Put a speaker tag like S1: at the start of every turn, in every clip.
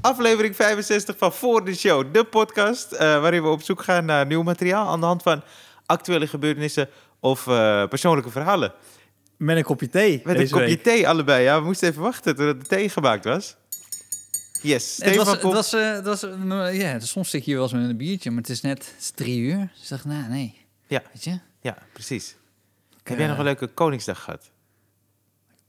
S1: Aflevering 65 van Voor de Show, de podcast eh, waarin we op zoek gaan naar nieuw materiaal aan de hand van actuele gebeurtenissen of eh, persoonlijke verhalen.
S2: Met een kopje thee.
S1: Met
S2: deze
S1: een kopje
S2: week.
S1: thee allebei. Ja, we moesten even wachten totdat de thee gemaakt was. Yes,
S2: Het
S1: Stefan
S2: was, het
S1: Pop.
S2: was, eh, het was, eh, nou, ja, soms zit je wel eens met een biertje, maar het is net het is drie uur. Dus ik dacht, nou nee.
S1: Ja.
S2: Weet je?
S1: Ja, precies. Heb jij
S2: Eh,
S1: nog een leuke Koningsdag gehad?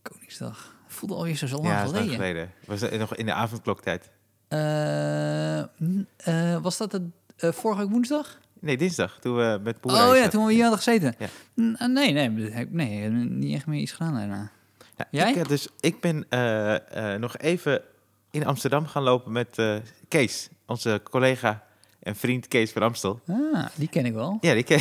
S2: Koningsdag. Voelde alweer zo lang
S1: ja, dat is
S2: geleden.
S1: lang geleden. Was eh, nog in de avondkloktijd?
S2: Eh, n- eh, was dat het, eh, vorige week woensdag?
S1: Nee, dinsdag, toen we met Poera
S2: oh
S1: iets
S2: ja,
S1: hadden.
S2: toen we hier hadden gezeten.
S1: Ja.
S2: N- eh, nee, nee, nee, nee, ik heb niet echt meer iets gedaan daarna.
S1: Ja,
S2: Jij?
S1: Ik, eh, dus ik ben eh, eh, nog even in Amsterdam gaan lopen met eh, Kees, onze collega en vriend Kees van Amstel.
S2: Ah, die ken ik wel.
S1: Ja, die ken,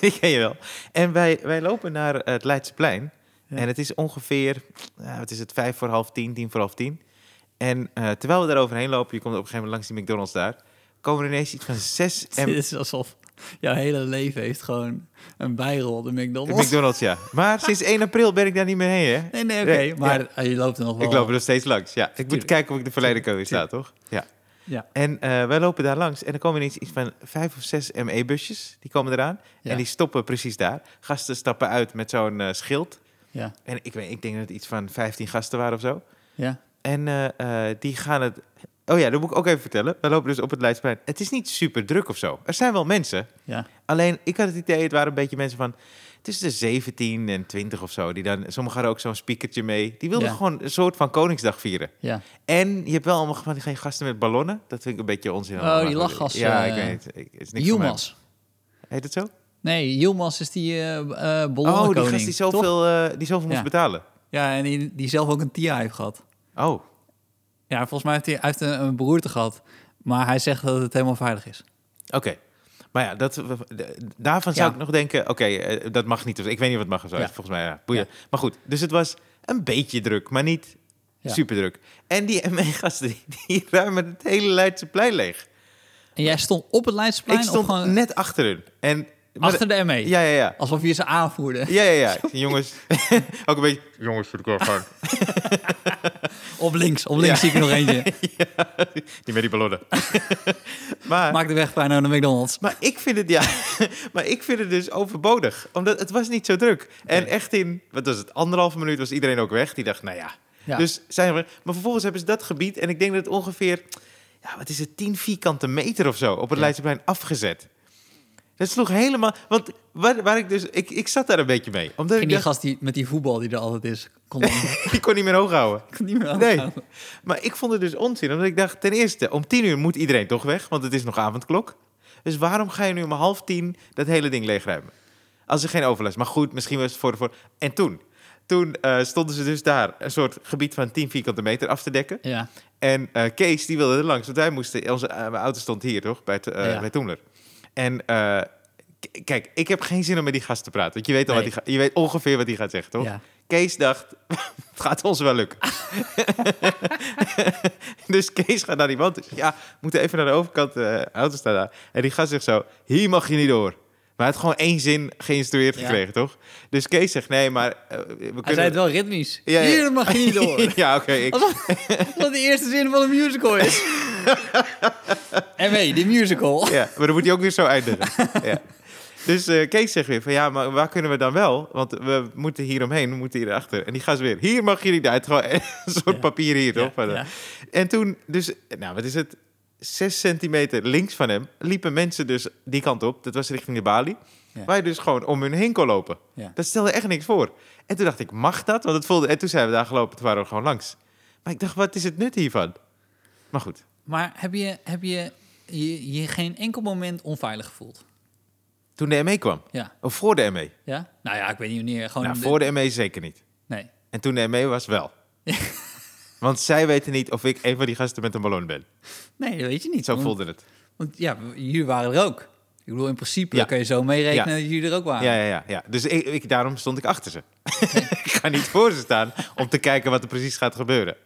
S1: die ken je wel. En wij, wij lopen naar eh, het Leidseplein.
S2: Ja.
S1: En het is ongeveer, ja, wat is het, vijf voor half tien, tien voor half tien. En eh, terwijl we daar overheen lopen, je komt op een gegeven moment langs die McDonald's daar, komen er ineens iets van zes...
S2: Het
S1: en
S2: is alsof jouw hele leven heeft gewoon een bijrol de McDonald's.
S1: McDonald's, ja. Maar sinds 1 april ben ik daar niet meer heen, hè?
S2: Nee, nee, oké.
S1: Nee,
S2: maar eh, je loopt er nog wel.
S1: Ik loop er nog steeds langs, ja. Ik moet
S2: Tuurlijk.
S1: kijken of ik de verleiding kan weer sta, toch? Ja.
S2: Ja.
S1: En eh, wij lopen daar langs en er komen ineens iets van vijf of zes ME-busjes. Die komen eraan
S2: Ja.
S1: en die stoppen precies daar. Gasten stappen uit met zo'n eh, schild.
S2: Ja,
S1: En ik, weet, ik denk dat het iets van 15 gasten waren of zo.
S2: ja.
S1: En eh, eh, die gaan het... Oh ja, dat moet ik ook even vertellen. Wij lopen dus op het Leidsplein. Het is niet super druk of zo. Er zijn wel mensen.
S2: Ja,
S1: Alleen, ik had het idee, het waren een beetje mensen van tussen de 17 en 20 of zo. Die dan, sommigen hadden ook zo'n speakertje mee. Die wilden
S2: Ja.
S1: gewoon een soort van Koningsdag vieren.
S2: ja.
S1: En je hebt wel allemaal van geen gasten met ballonnen. Dat vind ik een beetje onzin.
S2: Oh,
S1: allemaal.
S2: die lachgasten,
S1: Ja, ik
S2: eh,
S1: weet het. Ik- het is niks voor mij.
S2: Yilmaz.
S1: Heet het zo?
S2: Nee, Yilmaz is die eh eh
S1: oh,
S2: ballonnenkoning,
S1: die gast die
S2: toch?
S1: zoveel, eh, die zoveel moest
S2: Ja.
S1: betalen.
S2: Ja, en die, die zelf ook een TIA heeft gehad.
S1: Oh,
S2: Ja, volgens mij heeft hij, hij heeft een, een beroerte gehad. Maar hij zegt dat het helemaal veilig is.
S1: oké. Maar ja, dat, daarvan zou
S2: Ja.
S1: ik nog denken... Oké, eh, dat mag niet. of- Ik weet niet wat mag of zo.
S2: Ja.
S1: Volgens mij, ja, boeien. Maar goed, dus het was een beetje druk, maar niet
S2: Ja.
S1: super druk. En die ME-gasten, die, die ruimen het hele Leidse plein leeg.
S2: En jij stond op het Leidseplein
S1: ik stond
S2: of gewoon
S1: net achter hun. En, maar-
S2: achter de ME?
S1: Ja, ja, ja.
S2: Alsof je ze aanvoerde.
S1: Ja, ja, ja. Jongens, ook een beetje... Jongens, voor de korf gaan.
S2: Op links, op links zie ik er nog eentje.
S1: Die met die ballonnen. maar, maar,
S2: Maak de weg bijna naar de McDonald's.
S1: ik vind het, ja, maar ik vind het dus overbodig. Omdat het was niet zo druk. En
S2: Nee.
S1: echt in, wat was het, anderhalve minuut was iedereen ook weg. Die dacht, nou ja.
S2: Ja.
S1: Dus zijn we, maar vervolgens hebben ze dat gebied. En ik denk dat het ongeveer, ja, wat is het, 10 vierkante meter of zo op het
S2: Ja.
S1: Leidseplein afgezet. Dat sloeg helemaal, want waar, waar ik dus, ik, ik zat daar een beetje mee. Omdat
S2: Ging
S1: ik
S2: die
S1: dacht,
S2: gast die, met die voetbal die er altijd is. Kon dan,
S1: ik kon niet meer hoog houden.
S2: kon niet meer aan.
S1: Nee, maar ik vond het dus onzin. Omdat ik dacht, ten eerste, om tien uur moet iedereen toch weg, want het is nog avondklok. Dus waarom ga je nu om half tien dat hele ding leegruimen? Als er geen overlast. Maar goed, misschien was het voor de voor. En toen, toen eh, stonden ze dus daar een soort gebied van 10 vierkante meter af te dekken.
S2: Ja,
S1: En eh, Kees, die wilde er langs, want wij moesten, onze eh, mijn auto stond hier toch, bij, het, eh,
S2: Ja.
S1: bij Toemler. En eh, k- kijk, ik heb geen zin om met die gast te praten, want je weet, al
S2: Nee.
S1: wat die, ga- je weet ongeveer wat hij gaat zeggen, toch?
S2: ja.
S1: Kees dacht, het gaat ons wel lukken. dus Kees gaat naar die man toe. Ja, we moeten even naar de overkant. eh, De auto staat daar. En die gast zegt zo, hier mag je niet door. Maar hij had gewoon één zin geïnstrueerd
S2: Ja.
S1: gekregen, toch? Dus Kees zegt, nee, maar eh, we kunnen...
S2: Hij zei het wel ritmisch.
S1: Ja, ja.
S2: Hier mag je niet door.
S1: ja, oké. ik-
S2: Alsof alsof dat de eerste zin van een musical is. M.E., die musical.
S1: ja, maar dan moet hij ook weer zo eindigen. ja. Dus eh, Kees zegt weer van, ja, maar waar kunnen we dan wel? Want we moeten hier omheen, we moeten hier achter. En die gast weer, hier mag je niet uit. Gewoon een soort
S2: Ja.
S1: papier hier, toch?
S2: Ja,
S1: Van, eh,
S2: ja.
S1: En toen, dus, nou, wat is het? Zes centimeter links van hem liepen mensen dus die kant op. Dat was richting de balie.
S2: Ja.
S1: Waar je dus gewoon om hun heen kon lopen.
S2: Ja.
S1: Dat stelde echt niks voor. En toen dacht ik, mag dat? Want het voelde... En toen zijn we daar gelopen, toen waren we gewoon langs. Maar ik dacht, wat is het nut hiervan? Maar goed.
S2: Maar heb je heb je, je je geen enkel moment onveilig gevoeld?
S1: Toen de ME kwam.
S2: Ja.
S1: Of voor de E. ME.
S2: ja? Nou ja, ik weet niet wanneer. Gewoon
S1: Nou,
S2: de-
S1: voor de ME zeker niet.
S2: Nee.
S1: En toen de ME was wel. Want zij weten niet of ik een van die gasten met een ballon ben.
S2: nee, dat weet je niet.
S1: Zo
S2: want,
S1: voelde het.
S2: want ja, jullie waren er ook. Ik bedoel, in principe
S1: Ja.
S2: kan je zo meerekenen
S1: Ja.
S2: dat jullie er ook waren.
S1: Ja, ja, ja, ja. Dus ik, ik- daarom stond ik achter ze. ik ga niet voor ze staan om te kijken wat er precies gaat gebeuren.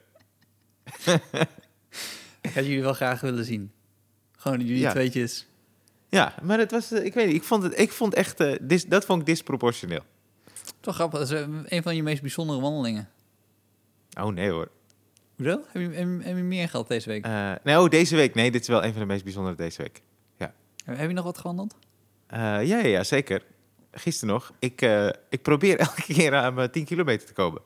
S2: Ik had jullie wel graag willen zien. Gewoon jullie
S1: Ja.
S2: tweetjes.
S1: Ja, maar het was, eh, ik weet niet, ik vond, het, ik vond echt, eh, dis- dat vond ik disproportioneel.
S2: Toch grappig, dat is eh, een van je meest bijzondere wandelingen.
S1: Oh nee hoor.
S2: Hoezo? Heb je, heb, je- heb je meer gehad deze week?
S1: Eh, nee, oh, deze week. Nee, dit is wel een van de meest bijzondere deze week.
S2: Heb heb je nog wat gewandeld?
S1: Eh, ja, ja, ja, zeker. Gisteren nog. Ik, eh, ik probeer elke keer aan mijn 10 kilometer te komen.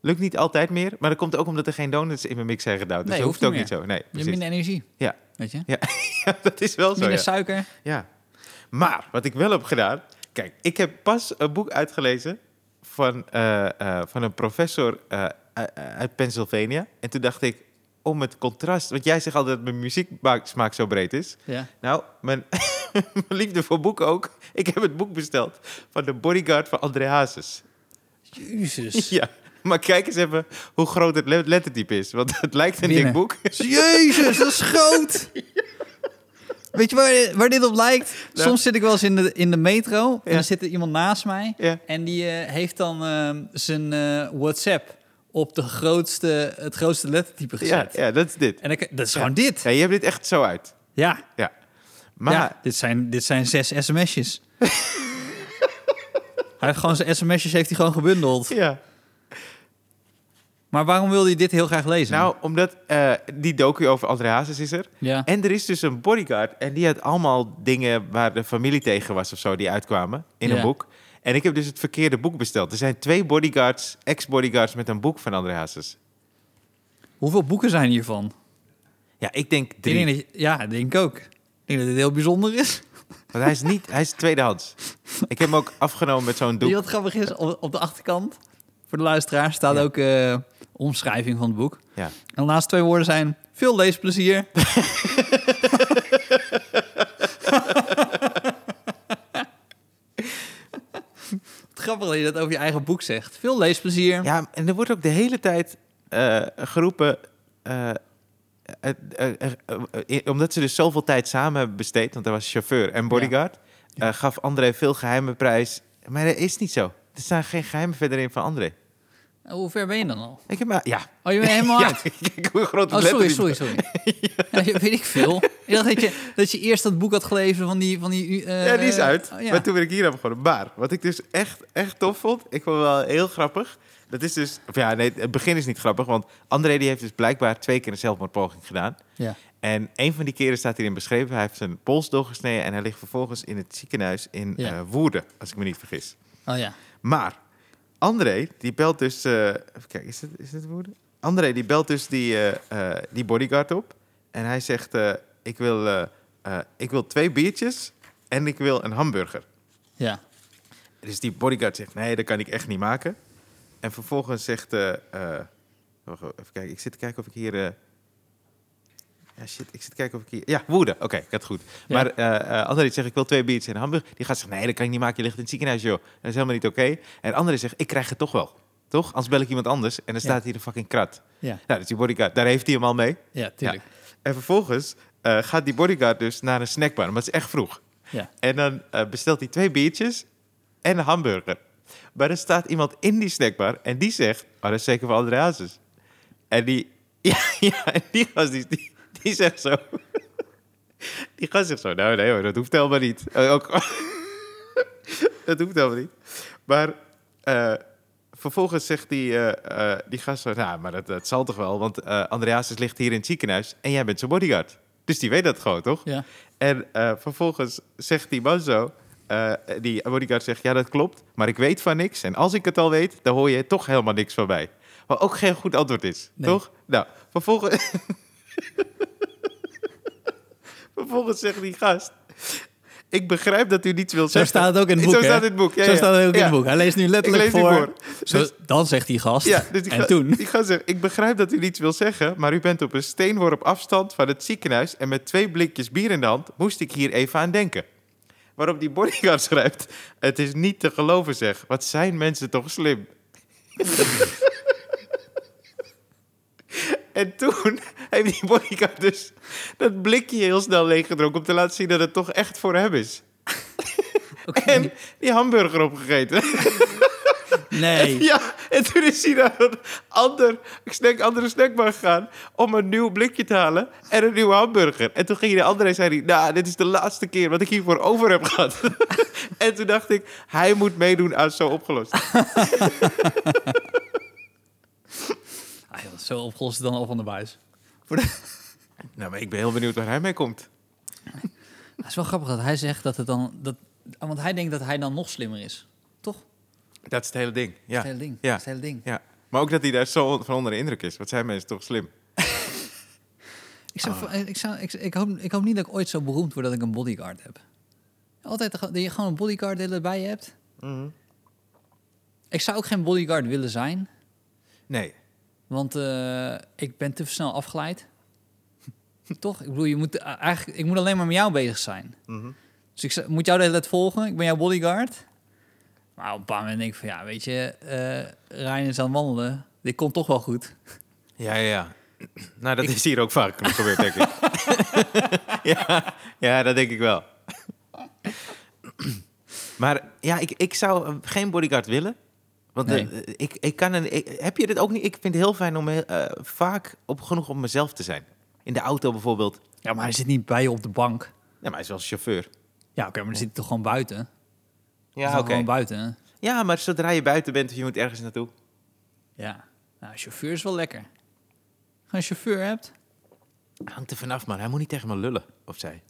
S1: Lukt niet altijd meer, maar dat komt ook omdat er geen donuts in mijn mix zijn gedouwd. Dus
S2: Nee,
S1: dat
S2: hoeft
S1: hoeft ook
S2: niet
S1: niet zo. Nee,
S2: Je hebt
S1: precies.
S2: minder energie.
S1: Ja.
S2: Weet je?
S1: Ja, dat is wel zo.
S2: Minder
S1: ja.
S2: suiker.
S1: Ja. Maar wat ik wel heb gedaan. Kijk, ik heb pas een boek uitgelezen van, eh, eh, van een professor eh, u- uit Pennsylvania. En toen dacht ik, om het contrast. Want jij zegt altijd dat mijn muzieksmaak zo breed is.
S2: Ja.
S1: Nou, mijn, mijn liefde voor boeken ook. Ik heb het boek besteld van de bodyguard van André Hazes.
S2: Jezus.
S1: Ja. Maar kijk eens even hoe groot het le- lettertype is. Want het lijkt een
S2: Binnen.
S1: dik boek.
S2: Jezus, dat is groot! Weet je waar, waar dit op lijkt?
S1: Nou.
S2: Soms zit ik wel eens in de, in de metro en
S1: Ja.
S2: dan zit er iemand naast mij.
S1: Ja.
S2: En die eh, heeft dan ehm, zijn eh, WhatsApp op de grootste, het grootste lettertype
S1: Ja,
S2: gezet.
S1: ja, dat is dit.
S2: En dan, dat is gewoon dit.
S1: Ja, je hebt dit echt zo uit.
S2: Ja,
S1: Ja. Maar
S2: ja, dit, zijn, dit zijn zes sms'jes. hij heeft gewoon zijn sms'jes heeft hij gewoon gebundeld.
S1: ja.
S2: Maar waarom wilde je dit heel graag lezen?
S1: Nou, omdat eh, die docu over André Hazes is er.
S2: ja.
S1: En er is dus een bodyguard. En die had allemaal dingen waar de familie tegen was of zo, die uitkwamen in
S2: Ja.
S1: een boek. En ik heb dus het verkeerde boek besteld. Er zijn twee bodyguards, ex-bodyguards met een boek van André Hazes.
S2: Hoeveel boeken zijn hiervan?
S1: Ja, ik denk
S2: Ik
S1: drie.
S2: denk dat je- ja, dat denk ik ook. Ik denk dat dit heel bijzonder is.
S1: Want hij is niet, hij is tweedehands. ik heb hem ook afgenomen met zo'n
S2: Weet
S1: doek.
S2: je wat grappig is? Op, op de achterkant, voor de luisteraar, staat
S1: Ja.
S2: ook eh omschrijving van het boek.
S1: Ja.
S2: En de laatste twee woorden zijn veel leesplezier. Wat grappig dat je dat over je eigen boek zegt. Veel leesplezier.
S1: Ja, en er wordt ook de hele tijd eh, geroepen. eh, eh, eh, eh, eh, eh, omdat ze dus zoveel tijd samen hebben besteed, want hij was chauffeur en bodyguard, eh, gaf André veel geheime prijs. Maar dat is niet zo. Er staan geen geheimen verder in van André.
S2: En Hoe ver ben je dan al?
S1: Ik heb maar, ja.
S2: Oh, je bent helemaal
S1: ja,
S2: uit.
S1: kijk hoe groot het
S2: Oh, sorry,
S1: lettertype-
S2: sorry, sorry. ja. weet ik veel. Ik dacht dat je, dat je eerst dat boek had gelezen van die... Van die eh,
S1: Ja, die is uit.
S2: oh, ja.
S1: Maar toen ben ik hier aan begonnen. Maar wat ik dus echt, echt tof vond, ik vond het wel heel grappig. Dat is dus, of ja, nee, het begin is niet grappig, want André die heeft dus blijkbaar twee keer een zelfmoordpoging gedaan.
S2: Ja.
S1: En een van die keren staat hierin beschreven. Hij heeft zijn pols doorgesneden en hij ligt vervolgens in het ziekenhuis in
S2: Ja.
S1: eh, Woerden, als ik me niet vergis.
S2: Oh ja.
S1: Maar André, die belt dus... eh even kijken, is het, is het Woerden? André, die belt dus die, eh, eh, die bodyguard op. En hij zegt, eh, ik, wil, eh, eh, ik wil twee biertjes en ik wil een hamburger.
S2: Ja.
S1: Dus die bodyguard zegt, nee, dat kan ik echt niet maken. En vervolgens zegt... eh, eh, wacht, even kijken, ik zit te kijken of ik hier... eh, ja, shit, ik zit te kijken of ik hier... Ja, woede. Oké, ik had het goed.
S2: Ja.
S1: Maar eh eh, André zegt, ik wil twee biertjes en een hamburger. Die gaat zeggen, nee, dat kan ik niet maken. Je ligt in het ziekenhuis, joh. Dat is helemaal niet oké. En André zegt, ik krijg het toch wel. Toch? Anders bel ik iemand anders en dan
S2: Ja.
S1: staat hier een fucking krat.
S2: Ja.
S1: Nou, dus die bodyguard, daar heeft hij hem al mee.
S2: Ja, tuurlijk.
S1: En vervolgens eh, gaat die bodyguard dus naar een snackbar, maar het is echt vroeg.
S2: Ja.
S1: En dan eh, bestelt hij twee biertjes en een hamburger. Maar er staat iemand in die snackbar en die zegt... Oh, dat is zeker voor André Hazes. En die... Ja, ja en die gast die, die, die zegt zo... Die gast zegt zo... Nou, nee hoor, dat hoeft helemaal niet. Eh, ook, dat hoeft helemaal niet. Maar eh, vervolgens zegt die, eh, eh, die gast zo... Nou, maar dat, dat zal toch wel, want eh André Hazes ligt hier in het ziekenhuis... en jij bent zijn bodyguard. Dus die weet dat gewoon, toch?
S2: Ja.
S1: En eh, vervolgens zegt die man zo... eh, die bodyguard zegt, ja, dat klopt, maar ik weet van niks. En als ik het al weet, dan hoor je toch helemaal niks van mij. Wat ook geen goed antwoord is,
S2: Nee.
S1: toch? Nou, vervolgens... vervolgens zegt die gast... Ik begrijp dat u niets wilt
S2: Zo
S1: zeggen.
S2: staat het ook in het boek.
S1: Zo
S2: hè?
S1: staat het in het boek. Ja,
S2: Zo
S1: ja.
S2: staat het ook in
S1: Ja.
S2: het boek. Hij leest nu letterlijk
S1: lees nu
S2: voor.
S1: voor.
S2: Zo-
S1: Dus-
S2: dan zegt die gast.
S1: Ja, dus die
S2: en
S1: ga-
S2: toen.
S1: Die gast zegt, ik begrijp dat u niets wil zeggen, maar u bent op een steenworp afstand van het ziekenhuis en met twee blikjes bier in de hand moest ik hier even aan denken. Waarop die bodyguard schrijft, het is niet te geloven zeg, wat zijn mensen toch slim. en toen heeft die bodyguard dus dat blikje heel snel leeggedronken om te laten zien dat het toch echt voor hem is.
S2: Oké.
S1: En die hamburger opgegeten.
S2: Nee.
S1: Ja, en toen is hij naar een ander, snack, andere snackbar gegaan om een nieuw blikje te halen en een nieuwe hamburger. En toen ging hij naar André en zei hij, nou, dit is de laatste keer wat ik hiervoor over heb gehad. en toen dacht ik, hij moet meedoen aan Zo Opgelost.
S2: Ah, joh, Zo opgelost is het dan al van de buis.
S1: Nou, maar ik ben heel benieuwd waar hij mee komt.
S2: Het is wel grappig dat hij zegt dat het dan... Dat, want hij denkt dat hij dan nog slimmer is. Toch? Dat
S1: Dat is het hele ding.
S2: is het
S1: Ja.
S2: hele ding.
S1: Ja.
S2: Dat is het hele ding.
S1: ja. Maar ook dat hij daar zo on- van onder de indruk is. Want zijn mensen toch slim.
S2: Ik, zou, ik, zou, ik, ik, hoop, ik hoop niet dat ik ooit zo beroemd word dat ik een bodyguard heb. Altijd dat je gewoon een bodyguard de hele bij je hebt. Ik zou ook geen bodyguard willen zijn,
S1: Nee.
S2: want eh, ik ben te snel afgeleid. Toch? Ik bedoel, je moet, eh, eigenlijk, ik moet alleen maar met jou bezig zijn.
S1: Mhm.
S2: Dus ik zou- moet jou de hele tijd volgen, ik ben jouw bodyguard. Maar op een bepaald moment denk ik van, ja, weet je, eh Ryan is aan het wandelen. Dit komt toch wel goed.
S1: Ja, ja, ja. Nou, dat is hier ook vaak genoeg gebeurd, denk ik. ja, ja, dat denk ik wel. maar ja, ik, ik zou eh, geen bodyguard willen. Want eh,
S2: Nee.
S1: ik, ik kan een, ik- heb je dit ook niet? Ik vind het heel fijn om heel, eh, vaak op, genoeg op mezelf te zijn. In de auto bijvoorbeeld.
S2: Ja, maar hij zit niet bij je op de bank.
S1: Ja, maar hij is wel chauffeur.
S2: Ja, oké, maar dan zit hij toch gewoon buiten?
S1: Ja,
S2: Hij
S1: oké.
S2: is gewoon buiten.
S1: Ja, maar zodra je buiten bent of je moet ergens naartoe.
S2: Ja. Nou, chauffeur is wel lekker. Als je een chauffeur hebt,
S1: Hangt er vanaf, man. Hij moet niet tegen me lullen, of zij.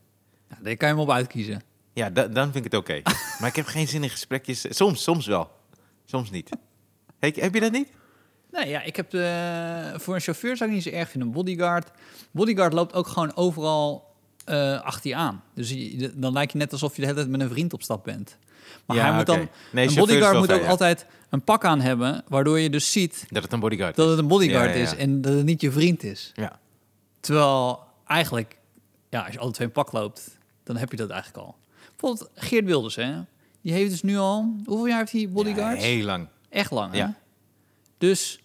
S2: nou, daar kan je hem op uitkiezen.
S1: Ja, da- dan vind ik het oké. maar ik heb geen zin in gesprekjes. Soms, soms wel. Soms niet. Hey, heb je dat niet?
S2: Nee, ja, ik heb eh, voor een chauffeur zou ik niet zo erg vinden. Een bodyguard. Bodyguard loopt ook gewoon overal eh, achter je aan. Dus je- de- dan lijkt je net alsof je de hele tijd met een vriend op stap bent. Maar
S1: Ja,
S2: hij moet
S1: oké.
S2: dan,
S1: Nee, chauffeur
S2: een
S1: is
S2: bodyguard
S1: wel
S2: moet
S1: fijn,
S2: ook
S1: ja.
S2: altijd een pak aan hebben, waardoor je dus ziet
S1: Dat het een bodyguard
S2: dat
S1: is.
S2: het een bodyguard
S1: Ja, ja, ja.
S2: is en dat het niet je vriend is.
S1: Ja.
S2: Terwijl eigenlijk, ja, als je alle twee in pak loopt, dan heb je dat eigenlijk al. Bijvoorbeeld Geert Wilders, hè? Die heeft dus nu al, hoeveel jaar heeft hij bodyguards?
S1: Ja, heel lang.
S2: Echt lang, hè?
S1: Ja.
S2: Dus,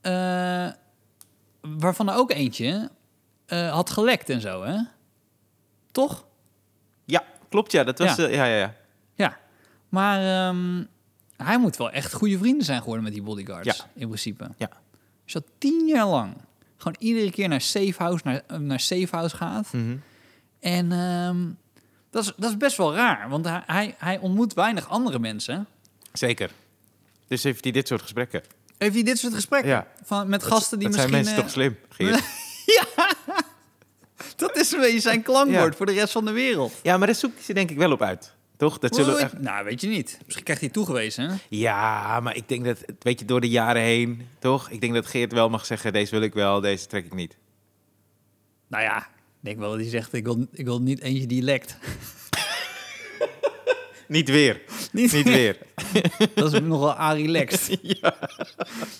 S2: eh, waarvan er ook eentje eh, had gelekt en zo, hè? Toch?
S1: Ja, klopt ja. Dat was...
S2: Ja.
S1: eh, Ja, ja, ja.
S2: Ja. Maar ehm, hij moet wel echt goede vrienden zijn geworden met die bodyguards,
S1: Ja.
S2: in principe.
S1: Ja.
S2: Als je dat tien jaar lang gewoon iedere keer naar safe house, naar, naar safe house gaat...
S1: Mhm.
S2: En ehm, dat, is, dat is best wel raar, want hij, hij, hij ontmoet weinig andere mensen.
S1: Zeker. Dus heeft hij dit soort gesprekken.
S2: Heeft hij dit soort gesprekken
S1: Ja.
S2: van, met gasten die
S1: dat
S2: misschien...
S1: zijn mensen
S2: eh,
S1: toch slim, Geert?
S2: dat is een beetje zijn klankwoord
S1: Ja.
S2: voor de rest van de wereld.
S1: ja, maar daar zoekt hij ze denk ik wel op uit. Toch? Dat zullen we
S2: Hoe-
S1: echt-
S2: Nou, weet je niet. Misschien krijgt hij toegewezen, hè?
S1: Ja, maar ik denk dat... Weet je, door de jaren heen, toch? Ik denk dat Geert wel mag zeggen... Deze wil ik wel, deze trek ik niet.
S2: Nou ja, ik denk wel dat hij zegt, ik wil, ik wil niet eentje die lekt.
S1: Niet weer.
S2: Niet-
S1: niet weer.
S2: Dat is nogal Arie relaxed.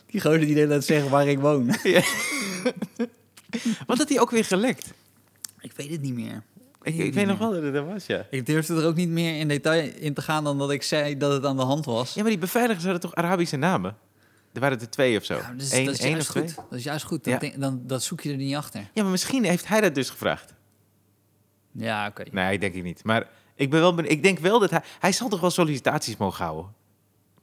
S2: Die gozer die de hele tijd zegt waar ik woon.
S1: Wat had hij ook weer gelekt?
S2: Ik weet het niet meer.
S1: Ik, ik weet nog wel dat het er was, ja.
S2: Ik durfde er ook niet meer in detail in te gaan dan dat ik zei dat het aan de hand was.
S1: Ja, maar die beveiligers hadden toch Arabische namen? Er waren er twee of zo.
S2: Ja, maar nou, dat is-
S1: Eén-
S2: dat is
S1: één
S2: juist
S1: of twee?
S2: goed. Dat is juist goed. Dan
S1: Ja.
S2: denk- dan, dat zoek je er niet achter.
S1: Ja, maar misschien heeft hij dat dus gevraagd.
S2: Ja, oké.
S1: Nee, denk ik niet. Maar ik, ben wel ben- ik denk wel dat hij... Hij zal toch wel sollicitaties mogen houden?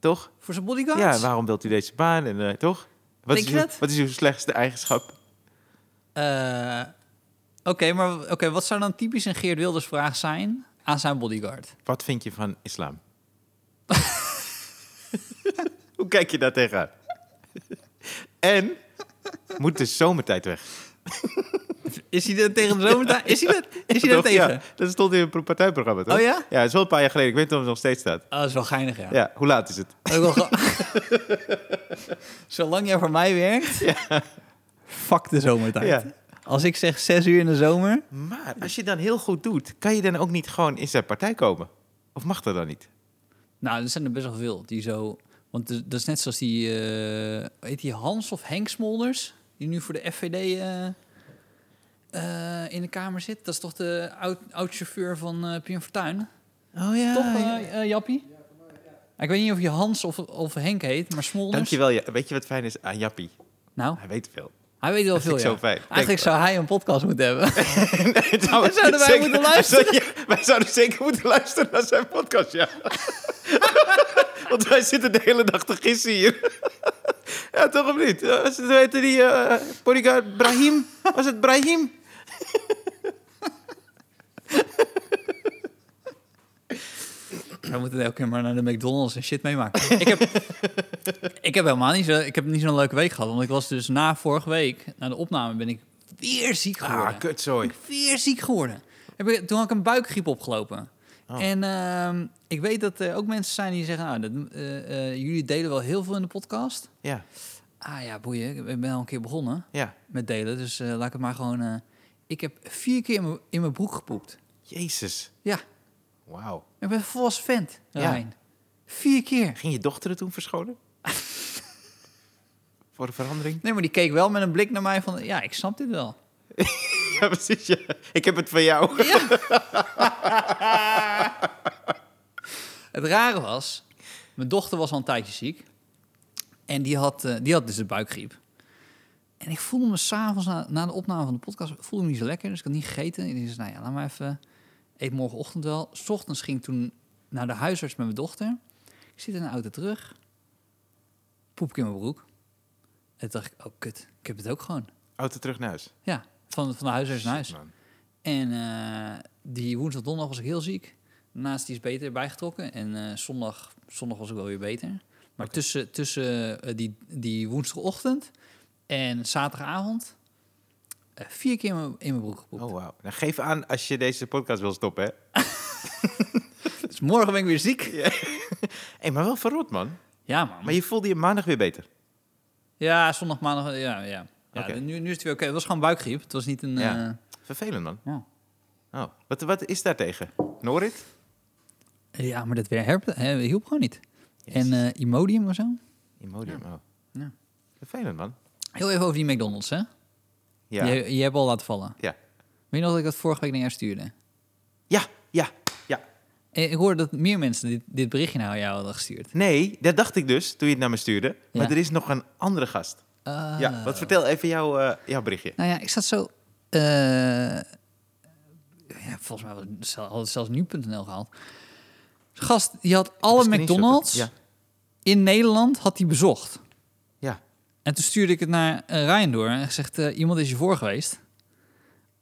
S1: Toch?
S2: Voor zijn bodyguards?
S1: Ja, waarom wilt u deze baan? En, eh, toch? Wat
S2: Denk
S1: is
S2: je
S1: uw,
S2: dat?
S1: wat is uw slechtste eigenschap?
S2: Eh, oké, maar oké, wat zou dan typisch een Geert Wilders vraag zijn aan zijn bodyguard?
S1: Wat vind je van islam? Hoe kijk je daar tegenaan? en moet de zomertijd weg?
S2: Is hij er tegen de zomertijd? Is hij dat? Is hij daar
S1: Toch? Ja,
S2: tegen?
S1: dat stond in een partijprogramma, toch?
S2: Oh ja?
S1: Ja, dat is wel een paar jaar geleden. Ik weet niet of het nog steeds staat.
S2: Oh, dat is wel geinig, ja.
S1: Ja, hoe laat is het?
S2: Ook wel ge- Zolang jij voor mij werkt, fuck de zomertijd.
S1: Ja.
S2: Als ik zeg zes uur in de zomer,
S1: Maar als je dan heel goed doet, kan je dan ook niet gewoon in zijn partij komen? Of mag dat dan niet?
S2: nou, er zijn er best wel veel die zo... Want dat is- dat is net zoals die, eh, heet die Hans of Henk Smolders, die nu voor de FVD eh, eh, in de Kamer zit. Dat is toch de oud- oud-chauffeur van eh Pien Fortuyn?
S1: Oh ja.
S2: Toch, eh, eh, Jappie? Ik weet niet of je Hans of, of Henk heet, maar Smolders.
S1: Dankjewel. Ja. Weet je wat fijn is aan Jappie?
S2: Nou,
S1: Hij weet veel.
S2: hij weet wel
S1: Dat
S2: veel,
S1: vind ik
S2: ja.
S1: zo fijn. Denk
S2: Eigenlijk
S1: wel.
S2: zou hij een podcast moeten hebben.
S1: Nee, zouden
S2: zouden wij moeten luisteren.
S1: Ja, wij zouden zeker moeten luisteren naar zijn podcast, ja. Want wij zitten de hele dag te gissen hier. ja, toch of niet? Eh, was het- Hoe heette die eh bodyguard? Brahim? Was het Brahim?
S2: Wij moeten elke keer maar naar de McDonald's en shit meemaken. ik, heb, ik heb helemaal niet, zo, ik heb niet zo'n leuke week gehad. Want ik was dus na vorige week, na de opname, ben ik weer ziek geworden.
S1: Ah, kutzooi.
S2: ben ik weer ziek geworden. Heb ik, toen had ik een buikgriep opgelopen.
S1: Oh.
S2: En ehm, ik weet dat er ook mensen zijn die zeggen... Nou, dat, eh, eh, jullie delen wel heel veel in de podcast.
S1: Ja,
S2: Ah ja, boeien. Ik ben al een keer begonnen
S1: ja.
S2: met delen. Dus eh, laat ik het maar gewoon... eh, ik heb vier keer in mijn- in mijn broek gepoept.
S1: Jezus.
S2: Ja,
S1: Wauw.
S2: ik ben een volwassen vent,
S1: Ja.
S2: Rijn. Vier keer.
S1: Ging je dochter het toen verschonen? Voor de verandering?
S2: Nee, maar die keek wel met een blik naar mij van... Ja, ik snap dit wel.
S1: Ja, precies. Ja. Ik heb het van jou.
S2: Het rare was, mijn dochter was al een tijdje ziek. En die had, eh, die had dus de buikgriep. En ik voelde me s'avonds na, na de opname van de podcast voelde me niet zo lekker. Dus ik had niet gegeten. En ik zei, nou ja, laat maar even. Eet morgenochtend wel. 's ochtends ging ik toen naar de huisarts met mijn dochter. Ik zit in de auto terug. Poep ik in mijn broek. En toen dacht ik, oh kut, ik heb het ook gewoon.
S1: Auto terug naar huis.
S2: Ja, van, van de huisarts naar huis.
S1: Shit, man.
S2: En eh, die woensdag, donderdag was ik heel ziek. Daarnaast die is beter bijgetrokken. En eh, zondag, zondag was ik wel weer beter. Maar tussen, tussen eh, die, die woensdagochtend en zaterdagavond... eh, vier keer in mijn- in mijn broek gepoept.
S1: Oh, wauw. Nou, geef aan als je deze podcast wil stoppen, hè.
S2: Dus morgen ben ik weer ziek.
S1: Hé, maar wel verrot, man.
S2: Ja, man.
S1: Maar je voelde je maandag weer beter.
S2: Ja, zondag, maandag... Ja, ja. ja
S1: Oké.
S2: nu, nu is het weer oké. Het was gewoon buikgriep. Het was niet een...
S1: Ja.
S2: eh,
S1: Vervelend, man.
S2: ja.
S1: Oh. Wat, wat is daar tegen? Norit?
S2: ja, maar dat weer herp- hè, hielp gewoon niet.
S1: Jezus.
S2: En eh Imodium of zo.
S1: Imodium, oh.
S2: Ja.
S1: Vervelend, man.
S2: Heel even over die McDonald's, hè?
S1: Ja.
S2: Je, je hebt al laten vallen.
S1: Ja.
S2: Weet je nog dat ik dat vorige week naar jou stuurde?
S1: Ja, ja, ja.
S2: Eh, Ik hoorde dat meer mensen dit, dit berichtje naar jou hadden gestuurd.
S1: Nee, dat dacht ik dus toen je het naar me stuurde. Maar
S2: Ja.
S1: er is nog een andere gast.
S2: Ah.
S1: Ja, wat vertel even jouw, eh, jouw berichtje.
S2: Nou ja, ik zat zo... eh, ja, volgens mij was het zel- had het zelfs nu.nl gehaald. De gast, die had alle
S1: Screenshotten.
S2: McDonald's
S1: Ja,
S2: in Nederland had die bezocht.
S1: ja.
S2: En toen stuurde ik het naar eh, Ryan door en gezegd: eh, iemand is je voor geweest.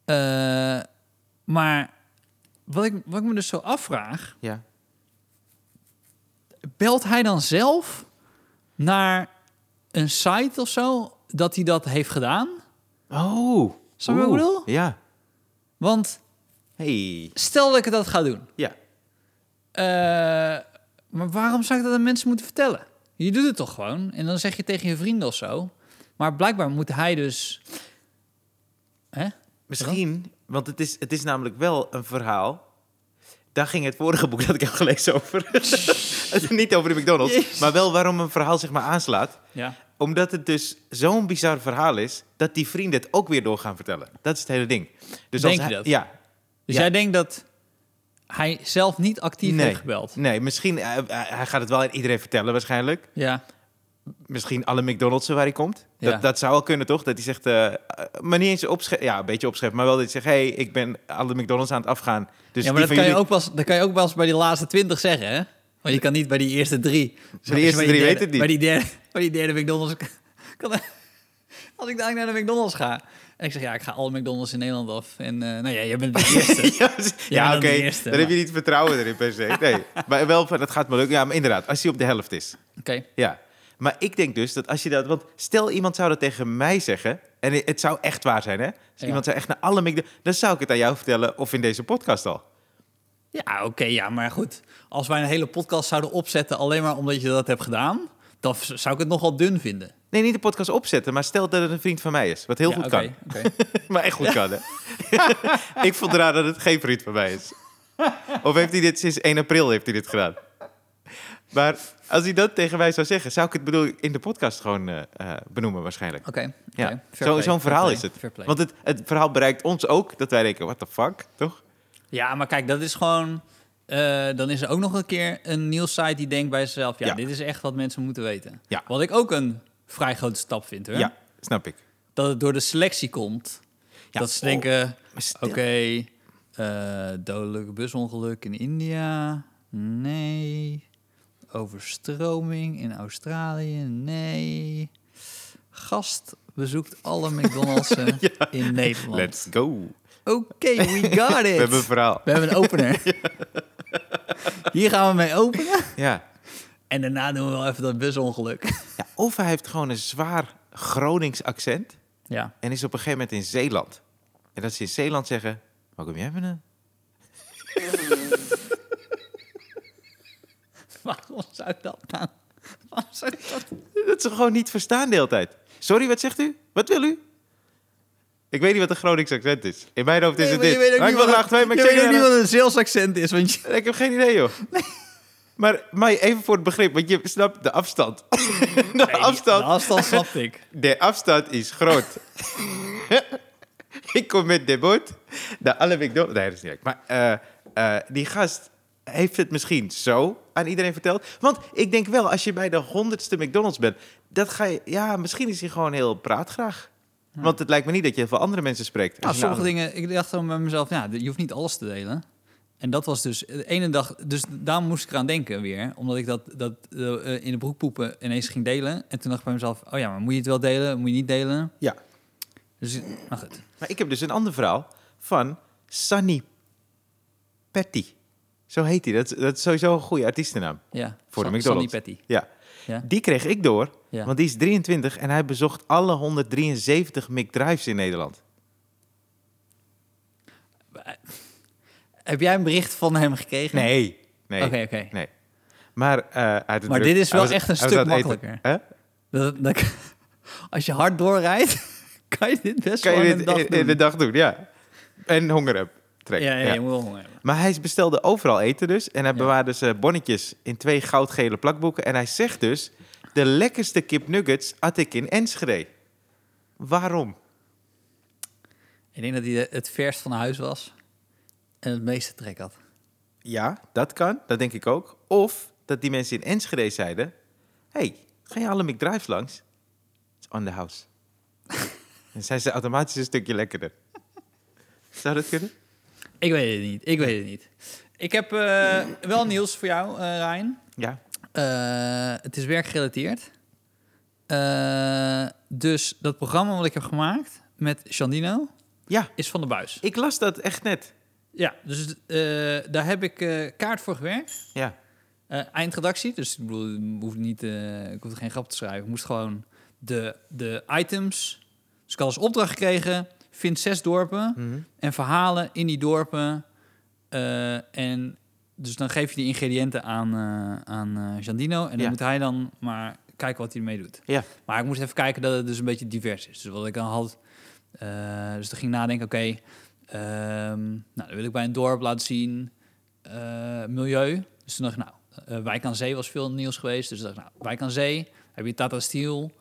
S2: Eh, maar wat ik, wat ik me dus zo afvraag,
S1: ja.
S2: belt hij dan zelf naar een site of zo dat hij dat heeft gedaan?
S1: Oh.
S2: Snap je wat ik
S1: Oeh.
S2: bedoel?
S1: Ja.
S2: Want
S1: Hey.
S2: stel dat ik dat ga doen.
S1: Ja.
S2: eh, maar waarom zou ik dat aan mensen moeten vertellen? Je doet het toch gewoon? En dan zeg je tegen je vrienden of zo. Maar blijkbaar moet hij dus... Hè?
S1: Misschien, want het is, het is namelijk wel een verhaal. Daar ging het vorige boek dat ik heb gelezen over. Niet over de McDonald's,
S2: Jezus.
S1: maar wel waarom een verhaal zich maar aanslaat.
S2: Ja.
S1: Omdat het dus zo'n bizar verhaal is dat die vrienden het ook weer door gaan vertellen. Dat is het hele ding. Dus
S2: Denk
S1: als
S2: je
S1: hij-
S2: dat?
S1: Ja.
S2: Dus
S1: Ja.
S2: jij denkt dat hij zelf niet actief
S1: nee.
S2: heeft gebeld?
S1: Nee, misschien eh, eh, hij gaat het wel aan iedereen vertellen waarschijnlijk.
S2: Ja.
S1: misschien alle McDonald's waar hij komt.
S2: Ja.
S1: Dat, dat zou wel kunnen, toch? Dat hij zegt, eh, eh, maar niet eens opschrijven. Ja, een beetje opschrijven, maar wel dat hij zegt... hey, ik ben alle McDonald's aan het afgaan. Dus
S2: ja, maar dat
S1: die van
S2: kan, je
S1: jullie,
S2: ook pas, dat kan je ook pas bij die laatste twintig zeggen, hè? Want je kan niet bij die eerste drie.
S1: Bij de eerste drie
S2: Bij die derde-
S1: weet het niet.
S2: Bij die derde, bij die derde McDonald's... Kan, als ik dadelijk naar de McDonald's ga... En ik zeg, ja, ik ga alle McDonald's in Nederland af. En eh, nou ja, jij bent de eerste.
S1: ja, dus-
S2: Ja,
S1: ja,
S2: dan
S1: oké,
S2: de eerste,
S1: dan
S2: maar-
S1: heb je niet vertrouwen erin per se. Nee, maar wel van, dat gaat me lukken. Ja, maar inderdaad, als hij op de helft is.
S2: Oké.
S1: Ja, maar ik denk dus dat als je dat... Want stel iemand zou dat tegen mij zeggen... en het zou echt waar zijn, hè? Als
S2: Ja.
S1: iemand zou echt naar alle McDonald's... dan zou ik het aan jou vertellen of in deze podcast al.
S2: Ja, oké, ja, maar goed. Als wij een hele podcast zouden opzetten alleen maar omdat je dat hebt gedaan... dan v- zou ik het nogal dun vinden.
S1: Nee, niet de podcast opzetten, maar stel dat het een vriend van mij is. Wat heel
S2: Ja,
S1: goed
S2: oké,
S1: kan.
S2: oké.
S1: Maar echt goed kan, hè? ik vond raar dat het geen vriend van mij is. Of heeft hij dit sinds 1 april heeft hij dit gedaan? Maar als hij dat tegen mij zou zeggen, zou ik het bedoel ik, in de podcast gewoon eh, eh, benoemen waarschijnlijk.
S2: Oké,
S1: Ja,
S2: oké. Fair
S1: Zo-
S2: play,
S1: zo'n verhaal
S2: fair
S1: is
S2: play,
S1: het.
S2: fair play.
S1: Want het, het verhaal bereikt ons ook dat wij denken, what the fuck, toch?
S2: Ja, maar kijk, dat is gewoon. eh, dan is er ook nog een keer een nieuwssite die denkt bij zichzelf: ja,
S1: Ja.
S2: dit is echt wat mensen moeten weten.
S1: Ja.
S2: Wat ik ook een vrij grote stap vind, hoor.
S1: Ja, snap ik.
S2: Dat het door de selectie komt.
S1: Ja,
S2: dat ze
S1: oh,
S2: denken:
S1: Maar stil-
S2: oké, eh, dodelijk busongeluk in India. Nee. Overstroming in Australië. Nee. Gast bezoekt alle McDonald's eh, in Nederland.
S1: Let's go.
S2: Oké, we got it.
S1: We hebben een verhaal.
S2: We hebben een opener. Hier gaan we mee openen.
S1: Ja.
S2: En daarna doen we wel even dat busongeluk.
S1: ja. Of hij heeft gewoon een zwaar Gronings accent.
S2: Ja.
S1: En is op een gegeven moment in Zeeland. En dat ze in Zeeland zeggen: Waar kom jij vandaan?
S2: Waarom zou dat nou? Waarom zou dat...
S1: Dat ze gewoon niet verstaan de hele tijd. Sorry, wat zegt u? Wat wil u? Ik weet niet wat een Gronings accent is. In mijn hoofd is het dit. Maar ik wil graag twee, maar ik
S2: je
S1: zeg
S2: weet ook
S1: niet
S2: niet wat een sales accent is, want je...
S1: aan- Ik heb geen idee, joh. Maar, maar even voor het begrip, want je snapt de afstand. De afstand.
S2: De afstand snapte ik.
S1: De afstand is groot. ik kom met de boot naar alle McDonald's. Nee, dat is niet leuk. Maar eh, eh, die gast heeft het misschien zo aan iedereen verteld. Want ik denk wel, als je bij de honderdste McDonald's bent, dat ga je... Ja, misschien is hij gewoon heel praatgraag. Want het lijkt me niet dat je heel veel andere mensen spreekt.
S2: Nou,
S1: Als je nou
S2: sommige dingen, ik dacht dan bij mezelf, ja, je hoeft niet alles te delen. En dat was dus de ene dag, dus daar moest ik eraan denken weer. Omdat ik dat, dat eh, in de broek poepen ineens ging delen. En toen dacht ik bij mezelf, oh ja, maar moet je het wel delen? Moet je niet delen?
S1: Ja.
S2: Dus, maar goed.
S1: Maar ik heb dus een ander verhaal van Sunny Petty. Zo heet hij. Dat, is- dat is sowieso een goede artiestennaam.
S2: Ja.
S1: Voor de
S2: San-
S1: McDonald's.
S2: Sunny Patty.
S1: Ja.
S2: Ja.
S1: Die kreeg ik door,
S2: Ja.
S1: want die is 23 en hij bezocht alle 173 McDrives in Nederland.
S2: Heb jij een bericht van hem gekregen?
S1: Nee. Nee.
S2: Oké, oké.
S1: nee. Maar, eh, hij had het
S2: Maar
S1: druk.
S2: dit is
S1: Hij
S2: wel
S1: was-
S2: echt een
S1: hij was
S2: stuk
S1: aan het eten.
S2: makkelijker.
S1: Hè?
S2: Dat- dat- als je hard doorrijdt, kan je dit best
S1: Kan
S2: wel
S1: je
S2: in een
S1: dit
S2: dag
S1: in,
S2: doen.
S1: in de dag doen, ja. En honger heb. Trek.
S2: ja, ja,
S1: Ja.
S2: je moet wel honger hebben.
S1: Maar hij bestelde overal eten dus. En hij
S2: Ja.
S1: bewaarde zijn bonnetjes in twee goudgele plakboeken. En hij zegt dus, de lekkerste kipnuggets at ik in Enschede. Waarom?
S2: Ik denk dat hij de- het verst van huis was en het meeste trek had.
S1: Ja, dat kan. Dat denk ik ook. Of dat die mensen in Enschede zeiden... hey, ga je alle McDrives langs? It's on the house. Dan zijn ze automatisch een stukje lekkerder. Zou dat kunnen?
S2: Ik weet het niet. Ik weet het niet. Ik heb eh, wel nieuws voor jou, eh Ryan.
S1: Ja.
S2: Eh, het is werkgerelateerd. Eh, dus dat programma wat ik heb gemaakt met Shandino
S1: Ja,
S2: is van de buis.
S1: ik las dat echt net.
S2: Ja, dus eh, daar heb ik eh, kaart voor gewerkt.
S1: Ja.
S2: Eh, eindredactie, dus ik bedoel, ik hoefde, niet, eh, ik hoefde geen grap te schrijven. Ik moest gewoon de, de items... Dus ik had als opdracht gekregen, vind zes dorpen...
S1: Mhm.
S2: en verhalen in die dorpen. eh, en dus dan geef je die ingrediënten aan, eh aan eh, Giandino. En dan
S1: Ja.
S2: moet hij dan maar kijken wat hij ermee doet.
S1: Ja.
S2: Maar ik moest even kijken dat het dus een beetje divers is. Dus wat ik dan had... eh, dus toen ging ik nadenken, oké... ehm, nou, dan wil ik bij een dorp laten zien... eh, milieu. Dus toen dacht ik, nou... eh, Wijk aan Zee was veel nieuws geweest. Dus toen dacht ik, nou, Wijk aan Zee... Heb je Tata Steel...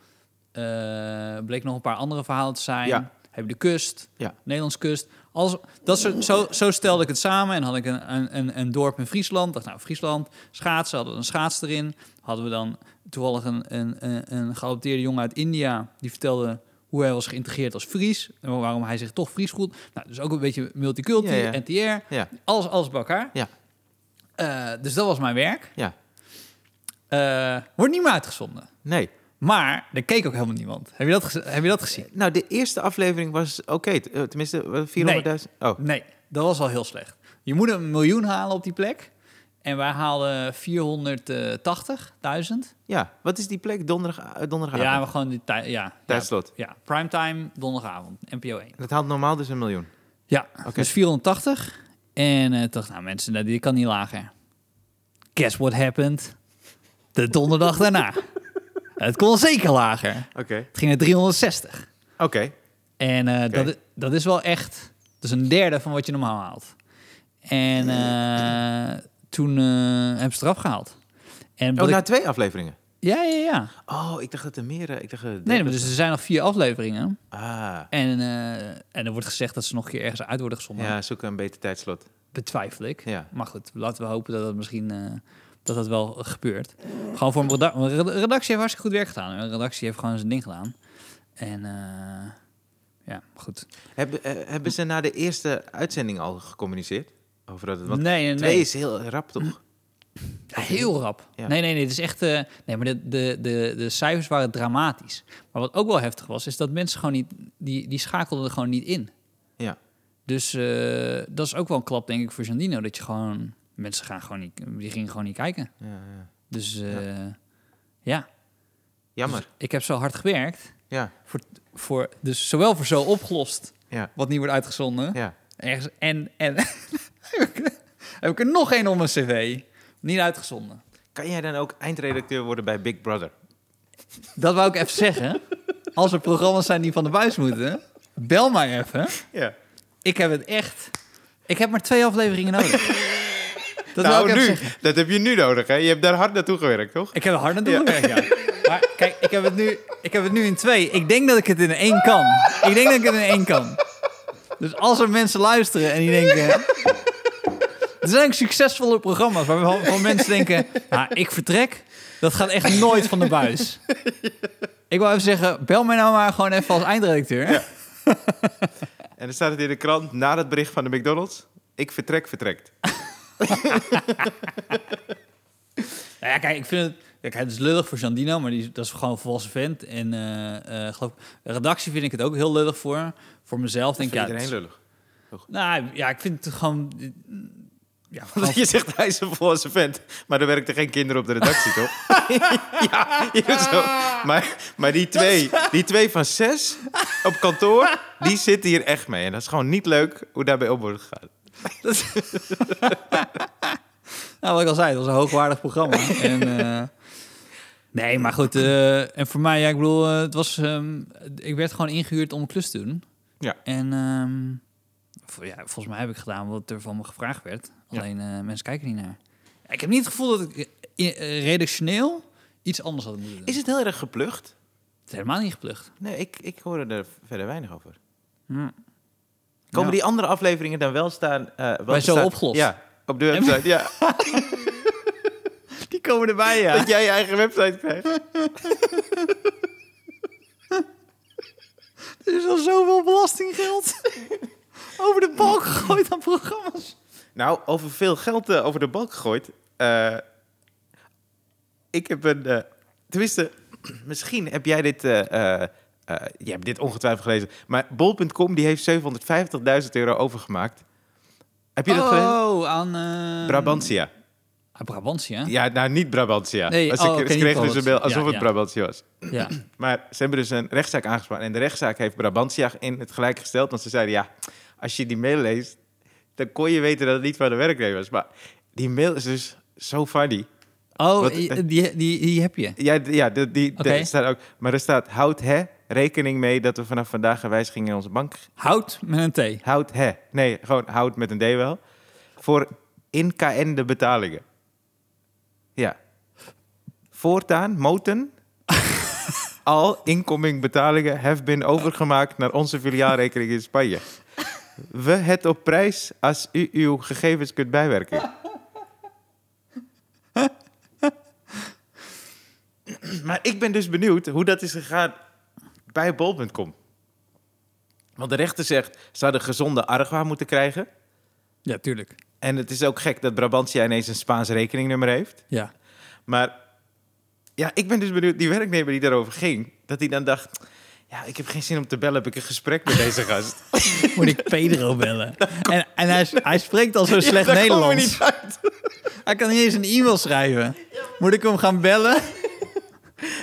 S2: eh, bleek nog een paar andere verhalen te zijn.
S1: Ja.
S2: Heb je de kust...
S1: Ja.
S2: Nederlands kust. Alles, dat soort, zo, zo stelde ik het samen en had ik een, een, een, een dorp in Friesland. Dacht, nou, Friesland, schaatsen, hadden we een schaats erin. Hadden we dan toevallig een, een, een, een geadopteerde jongen uit India. Die vertelde hoe hij was geïntegreerd als Fries. En waarom hij zich toch Fries voelt. Nou, dus ook een beetje multiculti,
S1: Ja, ja.
S2: NTR.
S1: Ja.
S2: Alles, alles bij elkaar.
S1: Ja.
S2: Eh, dus dat was mijn werk.
S1: Ja.
S2: Eh, wordt niet meer uitgezonden.
S1: Nee.
S2: Maar er keek ook helemaal niemand. Heb je dat, gez- heb je dat gezien?
S1: Nou, de eerste aflevering was oké. t- eh, Tenminste, eh, 400.000. Oh,
S2: Nee, dat was al heel slecht. Je moet een miljoen halen op die plek. En wij haalden 480.000.
S1: ja. Wat is die plek? Donderdag, eh, donderdagavond.
S2: Ja, we gewoon die tijd. Ja,
S1: Tijdslot.
S2: Ja, primetime donderdagavond, NPO 1.
S1: Dat haalt normaal dus een miljoen.
S2: Ja,
S1: Oké.
S2: dus 480. En eh dacht, nou mensen, nou, dit kan niet lager. Guess what happened? De donderdag daarna. Het kon zeker lager.
S1: Oké.
S2: Het ging naar 360.
S1: Oké.
S2: En eh,
S1: Oké.
S2: dat, i- dat is wel echt... Dat is een derde van wat je normaal haalt. En eh, toen eh, hebben ze het eraf gehaald. En
S1: Oh,
S2: wat
S1: na
S2: ik,
S1: twee afleveringen.
S2: ja, ja, ja.
S1: Oh, ik dacht dat er meer... eh, Ik dacht, eh,
S2: Nee, maar dus er zijn nog vier afleveringen.
S1: Ah,
S2: En, eh, en er wordt gezegd dat ze nog een keer ergens uit worden gezonden.
S1: ja, zoek een beter tijdslot.
S2: Betwijfel ik.
S1: Ja.
S2: Maar goed, laten we hopen dat dat misschien... eh, dat dat wel gebeurt. Gewoon voor een redactie. Want de redactie heeft hartstikke goed werk gedaan. De redactie heeft gewoon zijn ding gedaan. En eh, ja, goed.
S1: Hebben, eh, hebben ze na de eerste uitzending al gecommuniceerd? Over dat het... Want
S2: nee, nee,
S1: twee
S2: nee.
S1: is heel rap, toch?
S2: Ja, heel rap.
S1: Ja.
S2: Nee, nee, nee. Het is echt. eh, nee, maar de, de, de, de cijfers waren dramatisch. Maar wat ook wel heftig was, is dat mensen gewoon niet. Die, die schakelden er gewoon niet in.
S1: Ja.
S2: Dus eh, dat is ook wel een klap, denk ik, voor Jandino. Dat je gewoon. Mensen gaan gewoon niet, die gingen gewoon niet kijken.
S1: Ja, ja.
S2: Dus eh, ja.
S1: Jammer.
S2: Dus ik heb zo hard gewerkt.
S1: Ja,
S2: Voor, dus zowel voor zo opgelost,
S1: Ja.
S2: wat niet wordt uitgezonden.
S1: ja.
S2: Ergens, en en heb, ik, heb ik er nog één op mijn cv. Niet uitgezonden.
S1: Kan jij dan ook eindredacteur worden bij Big Brother?
S2: Dat wou ik even zeggen. Als er programma's zijn die van de buis moeten, bel mij even.
S1: Ja.
S2: Ik heb het echt. Ik heb maar twee afleveringen nodig. Dat wou
S1: nou,
S2: ik even
S1: nu.
S2: zeggen.
S1: Dat heb je nu nodig, hè? Je hebt daar hard naartoe gewerkt, toch?
S2: Ik heb er hard naartoe gewerkt, ja. Maar kijk, ik heb, het nu, ik heb het nu in twee. Ik denk dat ik het in één kan. Ik denk dat ik het in één kan. Dus als er mensen luisteren en die denken... Er zijn ook succesvolle programma's waarvan waarvan mensen denken... Nou, ik vertrek, dat gaat echt nooit van de buis. Ik wil even zeggen, bel mij nou maar gewoon even als eindredacteur.
S1: En dan staat het in de krant na het bericht van de McDonald's. Ik vertrek, vertrekt.
S2: Nou ja, kijk, ik vind het... ja, Kijk, het is lullig voor Jandino, maar die, dat is gewoon een volwassen vent. En eh, eh, geloof, redactie vind ik het ook heel lullig voor. Voor mezelf denk ik, ja,
S1: ja,
S2: het is-
S1: iedereen lullig.
S2: Nou ja, ik vind het gewoon. Ja,
S1: Want
S2: gewoon-
S1: je zegt hij is een volwassen vent, maar er werkten geen kinderen op de redactie, toch? ja, hier zo. Maar, maar die, twee, die twee van zes op kantoor, die zitten hier echt mee. En dat is gewoon niet leuk hoe daarbij om wordt gegaan.
S2: nou, wat ik al zei, het was een hoogwaardig programma. en, eh, nee, maar goed. eh, en voor mij, ja, ik bedoel, eh, het was, ehm, ik werd gewoon ingehuurd om een klus te doen.
S1: Ja.
S2: En ehm, vo- ja, volgens mij heb ik gedaan wat er van me gevraagd werd.
S1: Ja.
S2: Alleen eh, mensen kijken niet naar. Ik heb niet het gevoel dat ik eh, eh, redactioneel iets anders had moeten doen.
S1: Is het heel erg geplucht?
S2: Het is helemaal niet geplukt.
S1: Nee, ik, ik hoorde er verder weinig over.
S2: Hm.
S1: Komen
S2: Ja.
S1: die andere afleveringen dan wel staan? eh wel
S2: Bij
S1: te
S2: Zo
S1: staan-
S2: Opgelost.
S1: Ja, op de website. Ja,
S2: Die komen erbij, ja.
S1: dat jij je eigen website krijgt.
S2: Er is al zoveel belastinggeld over de balk gegooid aan programma's.
S1: Nou, over veel geld eh, over de balk gegooid. eh, ik heb een... eh, tenminste, misschien heb jij dit... eh, eh, eh, je hebt dit ongetwijfeld gelezen. Maar bol.com die heeft 750.000 euro overgemaakt. Heb je dat gelezen?
S2: Oh, aan... eh, Ah,
S1: Brabantia.
S2: Aan Brabantia? Ja.
S1: Ja, nou, niet Brabantia.
S2: Nee,
S1: Als
S2: oh,
S1: ik,
S2: oké,
S1: ze
S2: niet
S1: kregen dus een mail
S2: Brabantia.
S1: alsof
S2: Ja,
S1: het
S2: ja.
S1: Brabantia was. Maar ze hebben dus een rechtszaak aangespannen. En de rechtszaak heeft Brabantia in het gelijk gesteld. Want ze zeiden, ja, als je die mail leest... dan kon je weten dat het niet van de werknemer was. Maar die mail is dus zo funny.
S2: Oh,
S1: Wat-
S2: die, die, die, die heb je.
S1: Ja, d- ja de, die, de-
S2: Oké.
S1: er staat ook... Maar er staat, houd hè, rekening mee... dat we vanaf vandaag een wijziging in onze bank...
S2: Hout met een T.
S1: Houd hè. Nee, gewoon houd met een D wel. Voor in KN de betalingen. Ja. Voortaan, moten... Al incoming betalingen have been overgemaakt naar onze filiaalrekening in Spanje. We het op prijs als u uw gegevens kunt bijwerken. Maar ik ben dus benieuwd hoe dat is gegaan bij bol.com. Want de rechter zegt, ze hadden gezonde argwaan moeten krijgen.
S2: Ja, tuurlijk.
S1: En het is ook gek dat Brabantia ineens een Spaans rekeningnummer heeft.
S2: Ja.
S1: Maar ja, ik ben dus benieuwd, die werknemer die daarover ging, dat hij dan dacht, ja, ik heb geen zin om te bellen, heb ik een gesprek met deze gast.
S2: Moet ik Pedro bellen? En, en hij, hij spreekt al zo slecht
S1: Daar komen we
S2: Nederlands.
S1: niet uit.
S2: Hij kan niet eens een e-mail schrijven. Moet ik hem gaan bellen?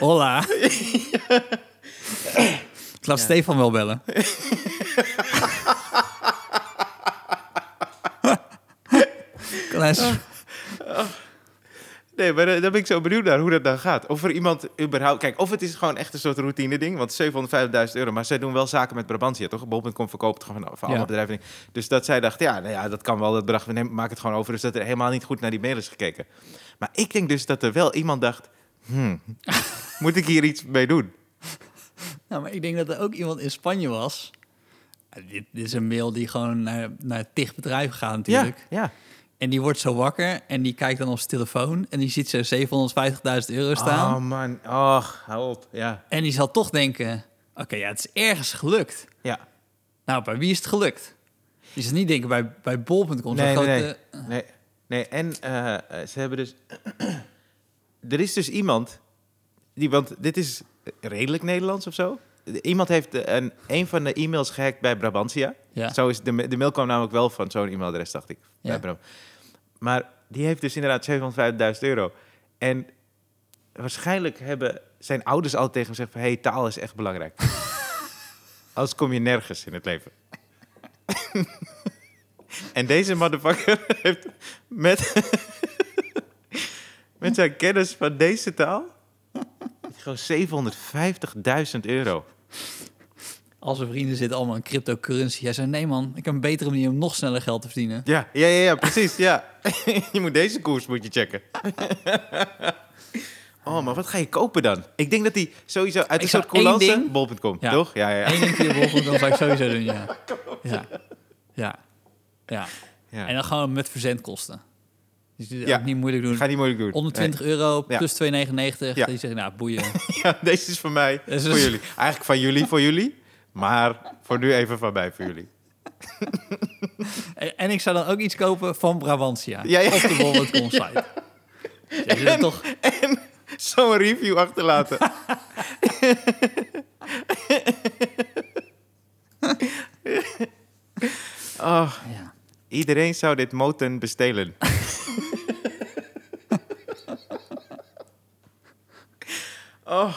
S2: Hola. Ik laat Stefan wel bellen. kan hij... s-
S1: Nee, maar eh, dan ben ik zo benieuwd naar hoe dat dan gaat. Of er iemand überhaupt... Kijk, of het is gewoon echt een soort routine ding. Want 750.000 euro, maar zij doen wel zaken met Brabantia, toch? Bol.com verkoopt het gewoon voor alle
S2: Ja.
S1: bedrijven. Dus dat zij dacht, ja, nou ja, dat kan wel, dat bedrag, we nemen- maken het gewoon over. Dus dat er helemaal niet goed naar die mail is gekeken. Maar ik denk dus dat er wel iemand dacht... Hmm, moet ik hier iets mee doen?
S2: Nou, maar ik denk dat er ook iemand in Spanje was. Ja, Dit, dit is een mail die gewoon naar, naar tig bedrijven gaat natuurlijk.
S1: Ja, ja.
S2: En die wordt zo wakker en die kijkt dan op zijn telefoon. En die ziet zo 750.000 euro staan.
S1: Oh man, och, hou op. Ja,
S2: En die zal toch denken... Oké, ja, het is ergens gelukt.
S1: ja.
S2: Nou, bij wie is het gelukt? Je zal niet denken bij, bij bol.com. zo'n
S1: Nee, nee,
S2: grote-
S1: nee. nee. Nee, en eh, eh, ze hebben dus... er is dus iemand... Die, want dit is redelijk Nederlands of zo. Iemand heeft een, een van de e-mails gehackt bij Brabantia.
S2: Ja.
S1: Zo is de, de mail kwam namelijk wel van zo'n e-mailadres, dacht ik.
S2: Ja.
S1: Bij Brab- maar die heeft dus inderdaad 750.000 euro. En waarschijnlijk hebben zijn ouders al tegen hem gezegd van... hey, taal is echt belangrijk. Anders kom je nergens in het leven. en deze motherfucker heeft met, met zijn kennis van deze taal... gewoon 750.000 euro.
S2: Als zijn vrienden zitten allemaal in cryptocurrency. Jij zei, nee man, ik heb een betere manier om nog sneller geld te verdienen.
S1: Ja, ja, ja, ja precies. Ja. je moet deze koers moet je checken. oh, maar wat ga je kopen dan? Ik denk dat die sowieso uit een
S2: Ik
S1: soort
S2: zou één
S1: coulance...
S2: ding-
S1: Bol.com,
S2: Ja.
S1: toch? Ja, ja, ja.
S2: Eén ding via Bol.com dan zou ik sowieso doen, ja. Ja. Ja. ja.
S1: Ja.
S2: En dan gewoon met verzendkosten. Dus die
S1: Ja.
S2: ook niet moeilijk doen.
S1: Ga niet moeilijk doen.
S2: 120 euro
S1: Ja.
S2: plus 2,99.
S1: Ja.
S2: Die zeggen, nou, boeien.
S1: Nee. Ja, deze is van mij,
S2: Dus-
S1: voor jullie. Eigenlijk van jullie, voor jullie. Maar voor nu even van mij, voor jullie.
S2: En, en ik zou dan ook iets kopen van Brabantia.
S1: Ja, ja.
S2: Op de bol.com site. Ja, dit is toch,
S1: Zo'n review achterlaten. oh,
S2: ja.
S1: Iedereen zou dit moten bestelen. oh,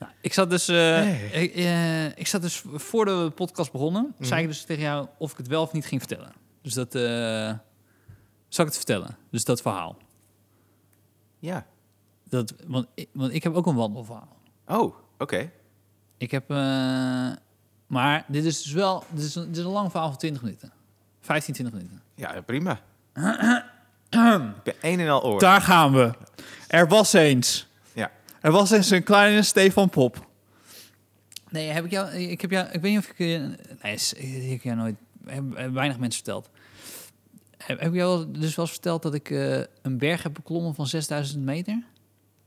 S2: nou, ik zat dus... eh,
S1: Nee. Mhm.
S2: ik, eh, ik zat dus voordat we de podcast begonnen... zei ik dus tegen jou of ik het wel of niet ging vertellen. Dus dat... eh zal ik het vertellen? Dus dat verhaal.
S1: ja.
S2: Dat, want, ik, want ik heb ook een wandelverhaal.
S1: Oh, oké.
S2: Ik heb... eh, maar dit is dus wel... Dit is, een, dit is een lang verhaal van 20 minuten. 15, 20 minuten.
S1: Ja, prima. Ik ben een en al oor.
S2: Daar gaan we. Er was eens.
S1: ja.
S2: Er was eens een kleine Stefan Pop. Nee, heb ik jou... Ik, heb jou, ik weet niet of ik... je- Nee, s- ik heb jou nooit... Heb, heb weinig mensen verteld. Heb, heb ik jou wel- dus wel eens verteld dat ik eh, een berg heb beklommen van 6000 meter?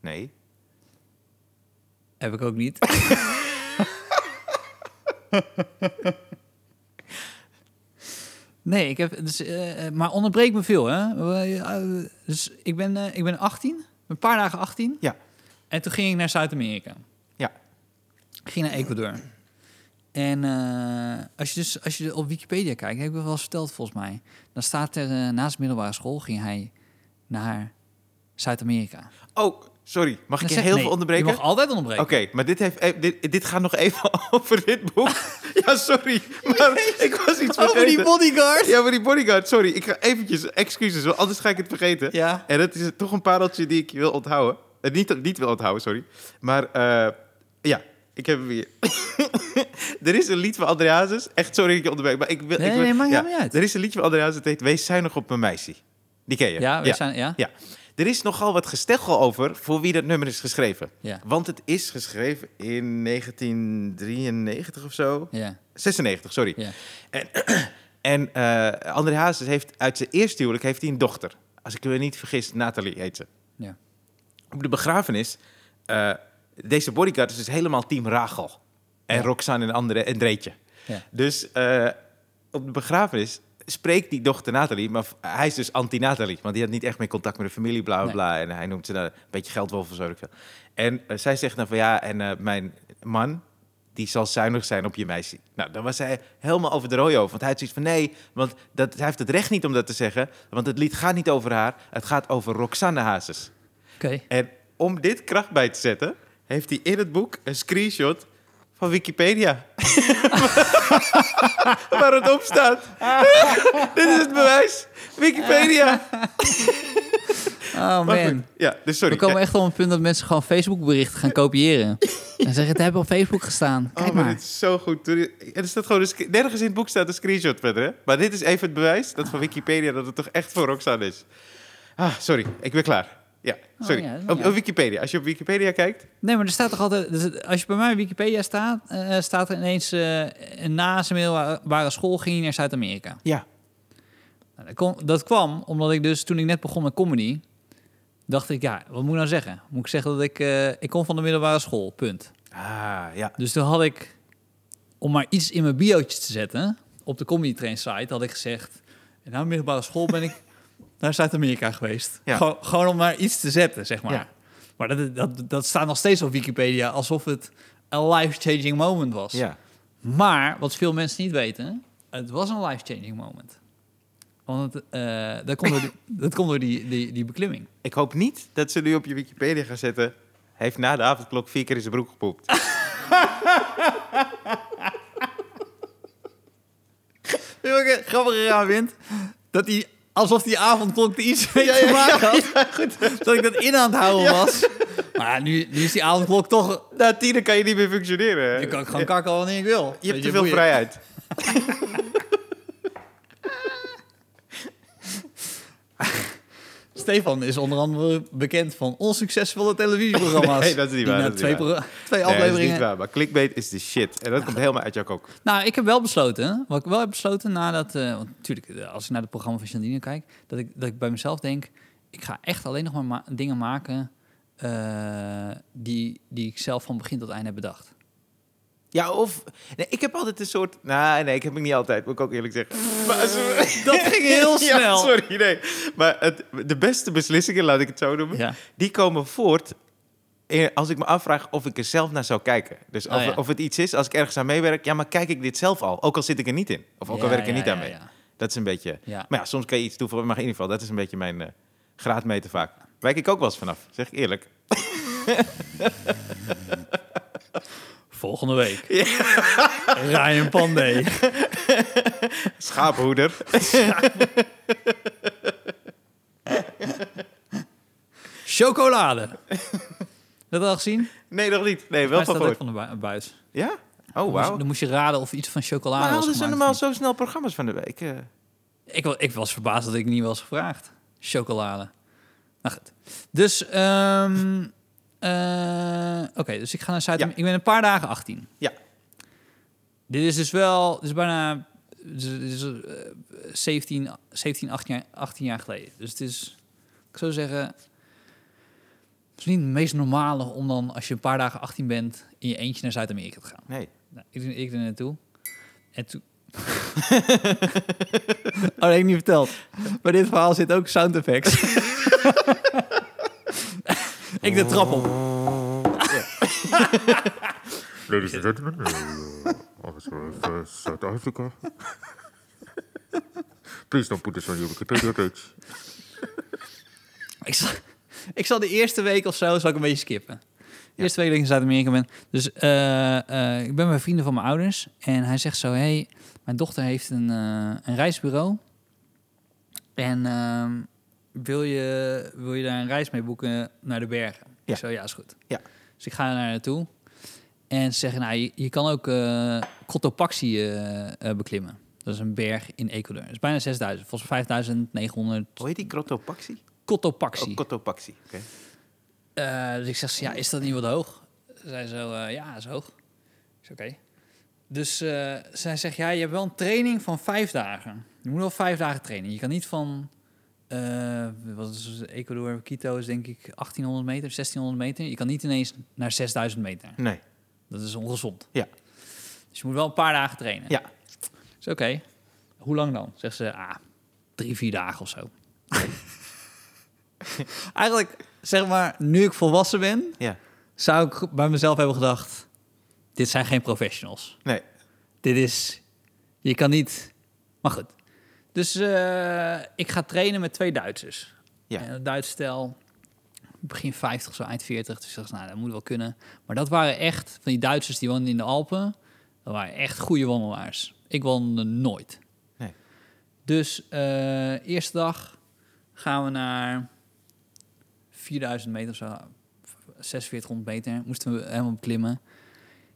S1: Nee.
S2: Heb ik ook niet. nee, ik heb. Dus, eh, maar onderbreek me veel, hè? Eh, eh, Dus ik ben, eh, ik ben 18, een paar dagen 18.
S1: Ja.
S2: En toen ging ik naar Zuid-Amerika.
S1: Ja.
S2: Ik ging naar Ecuador. En eh, als, je dus, als je op Wikipedia kijkt, heb ik wel eens verteld volgens mij. Dan staat er eh, naast middelbare school ging hij naar Zuid-Amerika.
S1: Oh, sorry. Mag ik
S2: Dan
S1: je
S2: zeg-
S1: heel
S2: nee,
S1: veel onderbreken?
S2: Je
S1: Oké,
S2: mag altijd onderbreken.
S1: maar dit, heeft, eh, dit, dit gaat nog even over dit boek. ja, sorry. Maar ik was iets vergeten.
S2: Over die bodyguard.
S1: Ja, maar die bodyguard. Sorry, ik ga eventjes excuses, want anders ga ik het vergeten.
S2: Ja.
S1: En dat is toch een pareltje die ik je wil onthouden. Eh, niet, niet wil onthouden, sorry. Maar eh, ja, ik heb hem hier. er is een lied van André Hazes. Echt, sorry dat ik je onderbreek. Maar ik wil,
S2: Nee,
S1: ik wil-
S2: nee, maakt
S1: ja.
S2: helemaal niet uit.
S1: Er is een lied van André Hazes. Het heet Wees zuinig op mijn meisje. Die ken je.
S2: Ja, we zijn. Ja.
S1: Ja. Er is nogal wat gesteggel over voor wie dat nummer is geschreven.
S2: Ja.
S1: Want het is geschreven in 1993 of zo.
S2: Ja.
S1: 96, sorry.
S2: Ja.
S1: En, en eh, André Hazes heeft uit zijn eerste huwelijk heeft hij een dochter. Als ik me niet vergis, Nathalie heet ze.
S2: Ja.
S1: Op de begrafenis, eh, deze bodyguard is dus helemaal team Rachel. En
S2: Ja.
S1: Roxanne en, andere, en Dreetje.
S2: Ja.
S1: Dus eh, op de begrafenis spreekt die dochter Nathalie, maar v- hij is dus anti-Nathalie. Want die had niet echt meer contact met de familie, bla bla
S2: Nee.
S1: bla. En hij noemt ze nou een beetje geldwolf of zo. weet ik veel. En eh, zij zegt dan van ja, en eh, mijn man, die zal zuinig zijn op je meisje. Nou, dan was hij helemaal over de rooi over. Want hij had zoiets van nee, want dat, hij heeft het recht niet om dat te zeggen. Want het lied gaat niet over haar, het gaat over Roxanne Hazes.
S2: Oké.
S1: En om dit kracht bij te zetten, heeft hij in het boek een screenshot van Wikipedia. Waar het op staat. dit is het bewijs. Wikipedia. Maar
S2: Oh man.
S1: goed, Ja, dus
S2: We
S1: sorry.
S2: komen echt op een punt dat mensen gewoon Facebook berichten gaan kopiëren. En zeggen, het hebben op Facebook gestaan.
S1: Oh,
S2: Kijk
S1: maar
S2: maar.
S1: dit is zo goed. Toen- Er staat gewoon een sc- nergens in het boek staat een screenshot verder. Hè? Maar dit is even het bewijs dat van Wikipedia dat het toch echt voor Roxanne is. Ah, sorry. Ik ben klaar. Ja,
S2: Oh,
S1: sorry.
S2: ja, dat is
S1: op,
S2: niet
S1: op Wikipedia. Als je op Wikipedia kijkt.
S2: Nee, maar er staat toch altijd... dus als je bij mij op Wikipedia staat, eh, staat er ineens... eh, na zijn middelbare school ging hij naar Zuid-Amerika.
S1: Ja.
S2: Nou, dat, kon- dat kwam omdat ik dus, toen ik net begon met comedy... dacht ik, ja, wat moet ik nou zeggen? Moet ik zeggen dat ik... eh, ik kom van de middelbare school, punt.
S1: Ah, ja.
S2: Dus toen had ik, om maar iets in mijn biootje te zetten, op de Comedy Train site had ik gezegd, na mijn middelbare school ben ik naar Zuid-Amerika geweest.
S1: Ja.
S2: Gewoon, gewoon om maar iets te zetten, zeg maar.
S1: Ja.
S2: Maar dat, dat, dat staat nog steeds op Wikipedia alsof het een life-changing moment was.
S1: Ja.
S2: Maar, wat veel mensen niet weten, het was een life-changing moment. Want het, eh, dat komt door, die, dat komt door die, die, die beklimming.
S1: Ik hoop niet dat ze nu op je Wikipedia gaan zetten. Hij heeft na de avondklok vier keer in zijn broek gepoept.
S2: Welke grappige raar vindt, dat hij alsof die avondklok de iets mee te maken had. Dat ik dat in aan het houden was. Maar nu, nu is die avondklok toch...
S1: Na tien Nou, kan je niet meer functioneren.
S2: Nu kan ik gewoon kakken wanneer ik wil.
S1: Je hebt
S2: Weet
S1: te veel
S2: boeien.
S1: vrijheid.
S2: Stefan is onder andere bekend van onsuccesvolle televisieprogramma's.
S1: Nee, dat is niet
S2: Die
S1: waar,
S2: na
S1: dat is
S2: twee
S1: niet waar.
S2: pro-
S1: Nee, dat
S2: twee
S1: Eh, is
S2: afleveringen
S1: niet waar, maar clickbait is de shit. En dat komt helemaal uit jouw kok.
S2: Nou, ik heb wel besloten, wat ik wel heb besloten nadat, eh, want natuurlijk, eh, als ik naar het programma van Shandine kijk, dat ik, dat ik bij mezelf denk, ik ga echt alleen nog maar ma- dingen maken eh, die, die ik zelf van begin tot einde heb bedacht.
S1: Ja, of... Nee, ik heb altijd een soort... Nou, nee, ik heb het niet altijd, moet ik ook eerlijk zeggen. Maar als-
S2: Dat ging heel
S1: Ja,
S2: snel.
S1: sorry, nee. Maar het, de beste beslissingen, laat ik het zo noemen,
S2: Ja.
S1: die komen voort in- als ik me afvraag of ik er zelf naar zou kijken. Dus of,
S2: Oh, ja.
S1: of het iets is, als ik ergens aan meewerk, ja, maar kijk ik dit zelf al? Ook al zit ik er niet in. Of ook al
S2: Ja,
S1: werk ik er
S2: ja,
S1: niet
S2: ja,
S1: aan mee.
S2: ja.
S1: Dat is een beetje...
S2: Ja.
S1: Maar ja, soms kan je iets toevoegen, maar in ieder geval, dat is een beetje mijn eh, graadmeter vaak. Wijk ik ook wel eens vanaf, zeg ik eerlijk.
S2: Volgende week. Ryan Pandey.
S1: Schaaphoeder.
S2: Chocolade. Dat al gezien?
S1: Nee, nog niet. Nee,
S2: Hij
S1: wel van
S2: staat ook
S1: voor.
S2: van de bui- buis.
S1: Ja? Oh,
S2: Dan moest je-
S1: wauw.
S2: Dan moest je raden of iets van chocolade
S1: Maar
S2: was
S1: hadden ze
S2: gemaakt.
S1: normaal zo snel programma's van de week? eh?
S2: Ik, wa- ik was verbaasd dat ik niet was gevraagd. Chocolade. Maar goed. Dus, ehm, eh, oké, dus ik ga naar Zuid.
S1: Ja.
S2: Ik ben een paar dagen 18.
S1: Ja.
S2: Dit is dus wel, dit is bijna dit is, eh, 17, 17 18, jaar, 18 jaar geleden. Dus het is, ik zou zeggen, het is niet het meest normale om dan, als je een paar dagen 18 bent, in je eentje naar Zuid-Amerika te gaan.
S1: Nee.
S2: Nou, ik, ik er naartoe. En toen... oh, dat heb ik niet verteld. Bij dit verhaal zit ook sound effects. ik de trap op.
S3: Ladies and gentlemen, uh, officer of uh, South Africa. Please don't put this on your Wikipedia page.
S2: Ik zal, ik zal de eerste week of zo zal ik een beetje skippen. De eerste week dat ik in Zuid-Amerika ben. Dus eh, eh, ik ben bij vrienden van mijn ouders. En hij zegt zo, hey, mijn dochter heeft een, eh, een reisbureau. En ehm, wil, je, wil je daar een reis mee boeken naar de bergen?
S1: Ja.
S2: Ik zo, ja, is goed.
S1: Ja.
S2: Dus ik ga daar naartoe. En ze zeggen, nou, je, je kan ook eh Cotopaxi eh, eh, beklimmen. Dat is een berg in Ecuador. Dat is bijna 6000, volgens mij 5900
S1: Hoe heet die? Crotopaxi?
S2: Cotopaxi.
S1: Oh, Cotopaxi. Oké.
S2: Eh, dus ik zeg, ze, ja, is dat niet wat hoog? Zij zo, eh, ja, is hoog. Is oké. Dus eh, zij zegt, ja, je hebt wel een training van vijf dagen. Je moet wel vijf dagen trainen. Je kan niet van, eh, wat is het? Ecuador, Quito is denk ik 1800 meter, 1600 meter. Je kan niet ineens naar 6000 meter.
S1: Nee.
S2: Dat is ongezond.
S1: Ja.
S2: Dus je moet wel een paar dagen trainen.
S1: Ja.
S2: Is oké. Hoe lang dan? Zegt ze, ah, drie, vier dagen of zo. Eigenlijk, zeg maar, nu ik volwassen ben,
S1: Ja.
S2: zou ik bij mezelf hebben gedacht: dit zijn geen professionals.
S1: Nee.
S2: Dit is. Je kan niet. Maar goed. Dus eh, ik ga trainen met twee Duitsers.
S1: Ja.
S2: En een Duits stel, begin 50, zo eind 40. Dus ik dacht, nou, dat moet wel kunnen. Maar dat waren echt, van die Duitsers die woonden in de Alpen, dat waren echt goede wandelaars. Ik wandelde nooit.
S1: Nee.
S2: Dus eh, eerste dag gaan we naar 4000 meter of zo, 4600 meter. Moesten we helemaal beklimmen.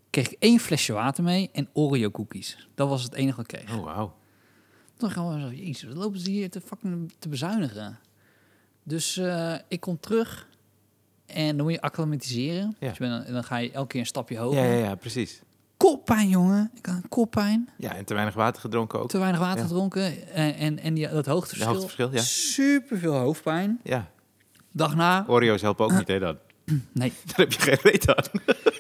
S2: Kreeg ik één flesje water mee en Oreo cookies. Dat was het enige wat ik kreeg.
S1: Oh, wauw.
S2: Dan gaan we zo, jezus, wat lopen ze hier te fucking te bezuinigen? Dus eh, ik kom terug en dan moet je acclimatiseren.
S1: Ja.
S2: Dus je bent dan, en dan ga je elke keer een stapje hoger.
S1: Ja, ja, ja, precies.
S2: Koppijn, jongen. Ik had koppijn.
S1: Ja, en te weinig water gedronken ook.
S2: Te weinig water
S1: Ja.
S2: gedronken. En, en, en die, dat hoogteverschil.
S1: De hoogteverschil, ja.
S2: Super veel hoofdpijn.
S1: Ja,
S2: Dag na.
S1: Oreo's helpen ook niet, hè, dan.
S2: Nee.
S1: Daar heb je geen reet aan.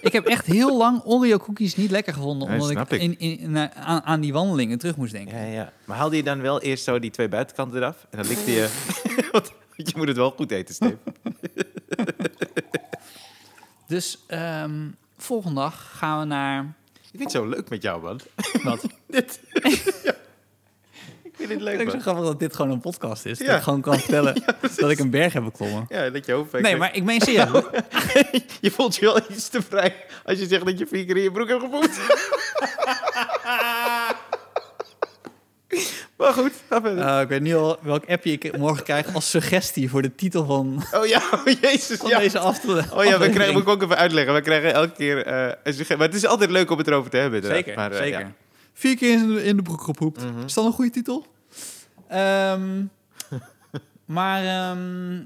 S2: ik heb echt heel lang Oreo cookies niet lekker gevonden.
S1: Nee,
S2: Omdat
S1: snap
S2: ik,
S1: ik.
S2: In, in, na- aan, aan die wandelingen terug moest denken.
S1: Ja, ja. Maar haalde je dan wel eerst zo die twee buitenkanten eraf? En dan likte je... Want je moet het wel goed eten, Steve.
S2: Dus ehm, volgende dag gaan we naar...
S1: Ik vind het zo leuk met jou, man.
S2: Wat?
S1: Dit. Ja. Ik vind vind het leuk.
S2: Ik vind het zo
S1: man.
S2: grappig dat dit gewoon een podcast is.
S1: Ja.
S2: Dat ik gewoon kan vertellen dat ik een berg heb beklommen.
S1: Ja, dat je hoofd.
S2: Nee, maar ik meen serieus.
S1: je voelt je wel iets te vrij als je zegt dat je vier keer in je broek hebt gepoept. maar goed, ga verder.
S2: Eh, ik weet niet al welk appje ik morgen krijg als suggestie voor de titel van,
S1: Oh ja, oh, jezus.
S2: van
S1: ja.
S2: deze aflevering.
S1: Oh ja, we krijgen, moet ik ook even uitleggen. We krijgen elke keer... eh, een sugge- maar het is altijd leuk om het erover te hebben. inderdaad.
S2: Zeker,
S1: maar, eh,
S2: zeker.
S1: ja.
S2: Vier keer in de, in de broek gepoept.
S1: Mhm.
S2: Is dat een goede titel? Ehm, maar, ehm,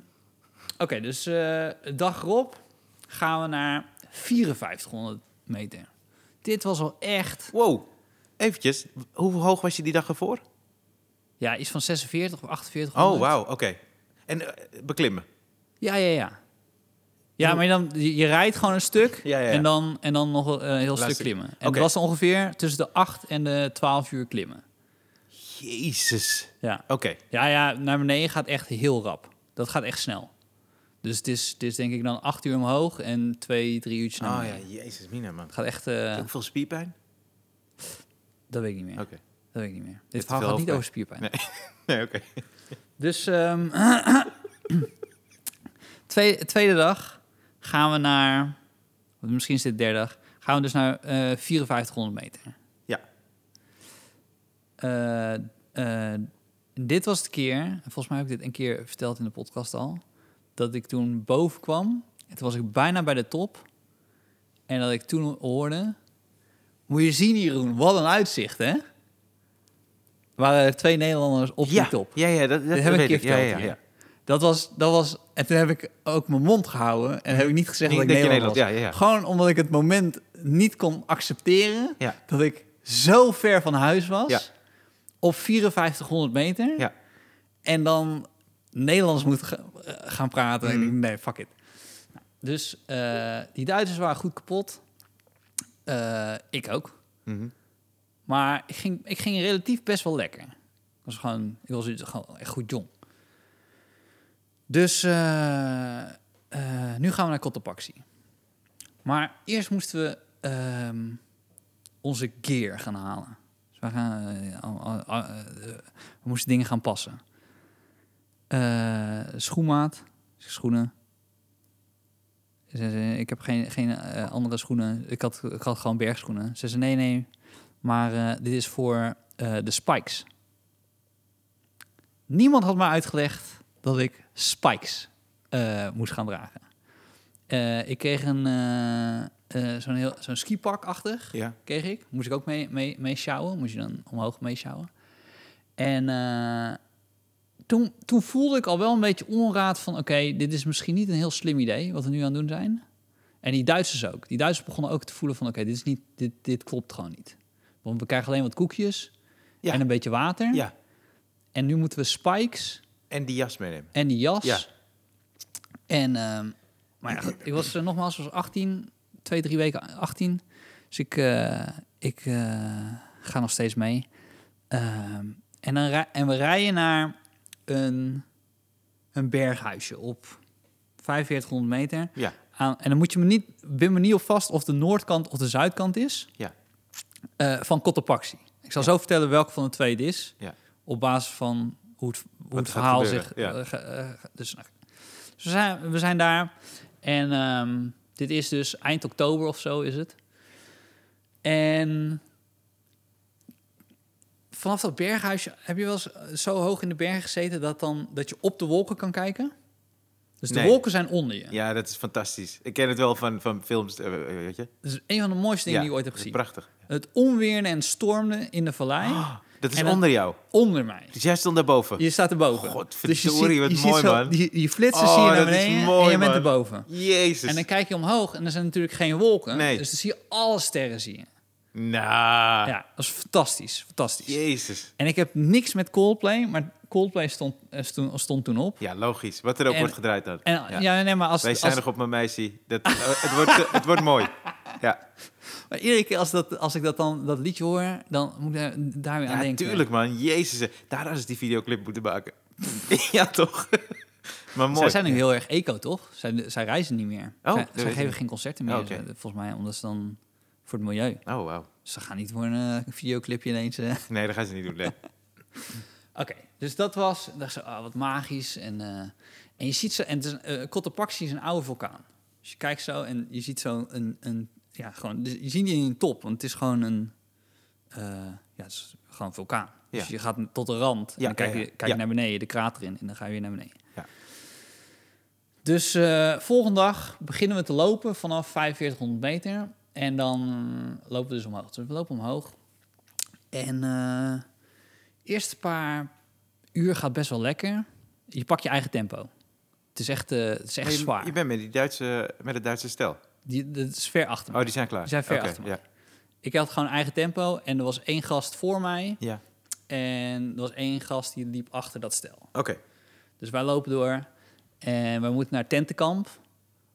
S2: oké, dus eh dag erop gaan we naar 5400 meter. Dit was al echt,
S1: Wow, eventjes. Hoe hoog was je die dag ervoor?
S2: ja, iets van 46 of 48.
S1: Oh, wauw, oké. En eh, beklimmen.
S2: Ja, ja, ja. Ja, maar dan, je, je rijdt gewoon een stuk
S1: Ja, ja, ja.
S2: En, dan, en dan nog een eh, heel
S1: Laatste-
S2: stuk klimmen. En
S1: Oké.
S2: dat was ongeveer tussen de 8 en de 12 uur klimmen.
S1: Jezus.
S2: Ja.
S1: Oké.
S2: Ja, ja, naar beneden gaat echt heel rap. Dat gaat echt snel. Dus het is, het is denk ik dan acht uur omhoog en twee, drie uurtjes naar
S1: Oh
S2: beneden.
S1: ja, jezus, Mina, man.
S2: Het gaat echt... eh,
S1: Ook veel spierpijn?
S2: dat weet ik niet meer.
S1: Oké.
S2: Dat weet ik niet meer.
S1: Dit
S2: Dit verhaal
S1: veel
S2: gaat niet
S1: hoofdpijn.
S2: over spierpijn.
S1: Nee. Nee, oké.
S2: Dus ehm tweede, tweede dag gaan we naar... of Misschien is dit de derde dag. Gaan we dus naar eh 5400 meter.
S1: Ja.
S2: Eh, eh, dit was de keer, en volgens mij heb ik dit een keer verteld in de podcast al, dat ik toen boven kwam. En toen was ik bijna bij de top. En dat ik toen hoorde, moet je zien Jeroen, wat een uitzicht hè. Er waren twee Nederlanders op
S1: ja.
S2: die top.
S1: Ja, ja, dat, dat,
S2: Dat, heb ik
S1: weet
S2: een keer
S1: ik. Ja,
S2: verteld.
S1: ja,
S2: hier.
S1: ja.
S2: Dat was, dat was, en toen heb ik ook mijn mond gehouden en heb ik niet gezegd
S1: Niet
S2: dat ik
S1: dat je
S2: Nederland was.
S1: Nederland- ja, ja, ja.
S2: Gewoon omdat ik het moment niet kon accepteren
S1: Ja.
S2: dat ik zo ver van huis was,
S1: Ja.
S2: op 5400 meter,
S1: Ja.
S2: en dan Nederlands moet ga- eh, gaan praten. En ik
S1: Mm.
S2: denk, nee, fuck it. Nou, Dus eh, die Duitsers waren goed kapot. Eh, ik ook.
S1: Mhm.
S2: Maar ik ging, ik ging relatief best wel lekker. Ik was gewoon, ik was gewoon echt goed jong. Dus eh, eh, nu gaan we naar Cotopaxi. Maar eerst moesten we ehm, onze gear gaan halen. Dus we, gaan, eh, al- al- al- eh, we moesten dingen gaan passen. Eh, schoenmaat, schoenen. Ze zei, ik heb geen, geen eh, andere schoenen. Ik had, ik had gewoon bergschoenen. Ze zei, nee, nee, maar eh, dit is voor eh, de spikes. Niemand had mij uitgelegd dat ik spikes eh, moest gaan dragen. Eh, ik kreeg een, eh, eh, zo'n, heel, zo'n skipak-achtig
S1: Ja.
S2: kreeg ik. Moest ik ook mee, mee, mee sjouwen. Moest je dan omhoog mee sjouwen. En eh, toen, toen voelde ik al wel een beetje onraad van... oké, dit is misschien niet een heel slim idee wat we nu aan het doen zijn. En die Duitsers ook. Die Duitsers begonnen ook te voelen van... oké, dit is niet dit, dit klopt gewoon niet. Want we krijgen alleen wat koekjes
S1: Ja.
S2: en een beetje water.
S1: ja.
S2: En nu moeten we spikes
S1: En die jas meenemen.
S2: en die jas.
S1: Ja.
S2: En, ehm, maar ja, goed, ik was eh, nogmaals was 18, twee, drie weken 18. Dus ik, eh, ik eh, ga nog steeds mee. Ehm, en, dan rij- en we rijden naar een, een berghuisje op 4500 meter.
S1: Ja.
S2: Aan, en dan moet je me niet, ben me niet op vast of de noordkant of de zuidkant is
S1: Ja.
S2: eh, van Cotopaxi. Ik zal zo vertellen welke van de twee het is
S1: Ja.
S2: op basis van hoe het, hoe het
S1: gaat
S2: verhaal
S1: gebeuren,
S2: zich.
S1: ja.
S2: eh, ge- eh, ge- dus, nou, dus we, zijn, we zijn daar en ehm, dit is dus eind oktober of zo is het. En vanaf dat berghuisje heb je wel eens eh, zo hoog in de berg gezeten dat, dan, dat je op de wolken kan kijken. Dus de
S1: Nee.
S2: wolken zijn onder je.
S1: Ja, dat is fantastisch. Ik ken het wel van, van films, eh, weet je?
S2: Dat is een van de mooiste dingen
S1: ja,
S2: die ik ooit heb
S1: dat is
S2: gezien.
S1: Prachtig. Ah.
S2: Het onweerde en stormde in de vallei
S1: Dat is
S2: En dan-
S1: onder jou.
S2: onder mij.
S1: Dus jij stond daarboven.
S2: Je staat erboven. Dus
S1: Godverdorie,
S2: je ziet-
S1: wat
S2: je ziet
S1: mooi,
S2: zo-
S1: man.
S2: Die, die flitsen
S1: Oh,
S2: zie je naar
S1: dat is
S2: beneden
S1: mooi,
S2: en je bent
S1: man.
S2: erboven.
S1: Jezus.
S2: En dan kijk je omhoog en er zijn natuurlijk geen wolken.
S1: Nee.
S2: Dus dan zie je alle sterren zie je.
S1: Nou,
S2: Ja, dat is fantastisch. Fantastisch.
S1: jezus.
S2: En ik heb niks met Coldplay, maar Coldplay stond, eh, stond, stond toen op.
S1: Ja, logisch. Wat er ook
S2: En-
S1: wordt gedraaid dan.
S2: En,
S1: ja.
S2: ja. nee, maar als,
S1: Wij
S2: als,
S1: zijn nog op mijn meisje. Dat, eh, het, wordt, het wordt mooi. Ja,
S2: maar iedere keer als, dat, als ik dat, dan, dat liedje hoor, dan moet ik eh, daar, daar weer aan
S1: ja
S2: denken.
S1: tuurlijk man. Jezus. eh, Daar hadden ze die videoclip moeten maken. ja, toch? maar mooi. Oh,
S2: Zij zijn nu heel erg eco, toch? Zij, zij reizen niet meer.
S1: dat
S2: zij
S1: weet
S2: zij
S1: ik
S2: geven
S1: niet. Oh,
S2: geen concerten meer,
S1: Oké.
S2: eh, volgens mij, omdat ze dan voor het milieu.
S1: Oh, wauw.
S2: Ze gaan niet voor een eh, videoclipje ineens. eh.
S1: Nee, dat gaan ze niet doen. Nee.
S2: Oké, dus dat was. dacht ze, ah, wat magisch. En, eh, en je ziet ze. En het is, eh, Cotopaxi is een oude vulkaan. Dus je kijkt zo en je ziet zo een. een ja, gewoon. dus je ziet niet in een top, want het is gewoon een. eh, ja, het is gewoon een vulkaan. Dus
S1: Ja.
S2: je gaat tot de rand. en
S1: Ja,
S2: dan kijk je
S1: ja, ja.
S2: kijk je
S1: Ja.
S2: naar beneden, de krater in. En dan ga je weer naar beneden.
S1: Ja.
S2: Dus eh, volgende dag beginnen we te lopen vanaf 4500 meter. En dan lopen we dus omhoog. Dus we lopen omhoog. En eh eerste paar uur gaat best wel lekker. Je pakt je eigen tempo. Het is echt, eh, het is echt
S1: Maar je,
S2: zwaar.
S1: Je bent met, die Duitse, met het Duitse stel.
S2: Die, dat is ver achter me.
S1: Oh, die zijn klaar.
S2: Die zijn ver
S1: Oké,
S2: achter me.
S1: Ja.
S2: Ik had gewoon eigen tempo. En er was één gast voor mij.
S1: ja.
S2: En er was één gast die liep achter dat stel.
S1: Oké.
S2: Dus wij lopen door en we moeten naar tentenkamp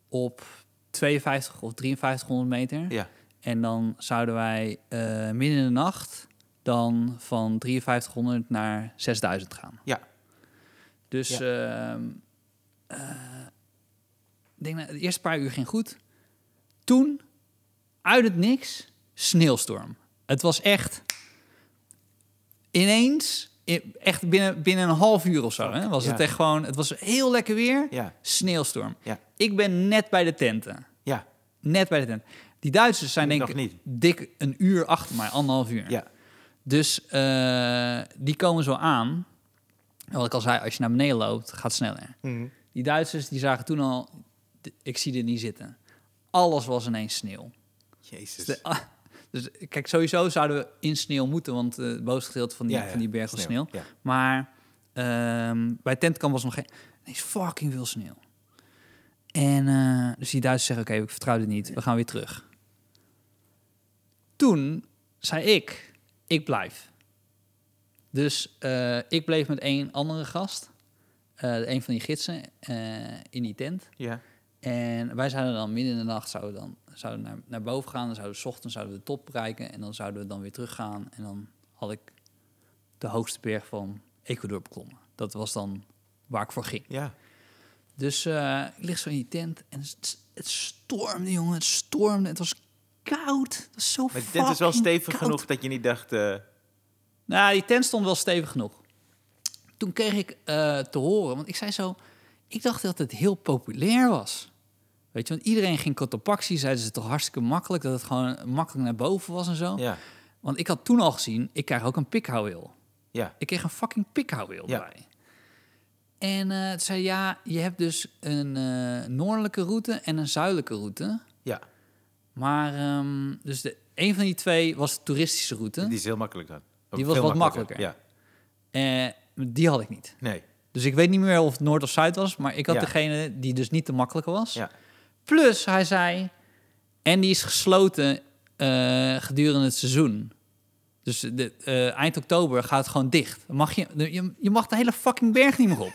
S2: op 52 of 5300 meter.
S1: Ja.
S2: En dan zouden wij eh, midden in de nacht dan van 5300 naar 6000 gaan.
S1: Ja.
S2: Dus
S1: Ja.
S2: ehm, eh, ik denk dat de eerste paar uur ging goed. Toen, uit het niks, sneeuwstorm. Het was echt ineens, i- echt binnen, binnen een half uur of zo, hè, was
S1: Ja.
S2: het echt gewoon, het was heel lekker weer,
S1: Ja.
S2: sneeuwstorm.
S1: Ja.
S2: Ik ben net bij de tenten,
S1: Ja.
S2: net bij de tent. Die Duitsers zijn
S1: Ik
S2: denk
S1: nog
S2: ik
S1: niet.
S2: dik een uur achter mij, anderhalf uur.
S1: Ja.
S2: Dus eh, die komen zo aan. En wat ik al zei, als je naar beneden loopt, gaat het sneller. Die Duitsers die zagen toen al, "D- ik zie dit niet zitten. Alles was ineens sneeuw.
S1: Jezus.
S2: Dus, de- ah, dus kijk, sowieso zouden we in sneeuw moeten, want eh, het bovenste gedeelte van die,
S1: Ja, ja,
S2: van die berg was
S1: sneeuw,
S2: sneeuw.
S1: ja.
S2: Maar ehm, bij tentkamp was nog geen... Ineens fucking veel sneeuw. En eh, dus die Duitsers zeggen, oké, ik vertrouw dit niet, we gaan weer terug. Toen zei ik, ik blijf. Dus eh, ik bleef met één andere gast, eh een van die gidsen, eh, in die tent.
S1: Ja.
S2: En wij zouden dan midden in de nacht zouden we dan, zouden we naar, naar boven gaan. Dan zouden we 's ochtends zouden we de top bereiken. En dan zouden we dan weer teruggaan. En dan had ik de hoogste berg van Ecuador beklommen. Dat was dan waar ik voor ging.
S1: Ja.
S2: Dus eh, ik lig zo in die tent en het, het stormde, jongen. Het stormde. Het was koud. Het was zo
S1: Maar de tent is wel
S2: fucking
S1: stevig
S2: koud.
S1: genoeg dat je niet dacht... eh,
S2: Nou, die tent stond wel stevig genoeg. Toen kreeg ik eh, te horen, want ik zei zo... Ik dacht dat het heel populair was. Weet je, want iedereen ging Cotopaxi, zeiden ze toch hartstikke makkelijk... dat het gewoon makkelijk naar boven was en zo.
S1: ja.
S2: Want ik had toen al gezien, ik krijg ook een pikhouweel.
S1: Ja.
S2: Ik kreeg een fucking pikhouweel
S1: Ja.
S2: bij. En eh het zei, ja, je hebt dus een eh, noordelijke route en een zuidelijke route.
S1: Ja.
S2: Maar, ehm, dus de, een van die twee was de toeristische route.
S1: Die is heel makkelijk dan. Ook
S2: Die was
S1: veel
S2: wat
S1: Ja.
S2: Eh, die had ik niet.
S1: Nee.
S2: Dus ik weet niet meer of het Noord of Zuid was, maar ik had
S1: Ja.
S2: degene die dus niet de makkelijke was.
S1: Ja.
S2: Plus, hij zei, en die is gesloten eh, gedurende het seizoen. Dus de, eh, eind oktober gaat het gewoon dicht. Dan Mag je, je, je mag de hele fucking berg niet meer op.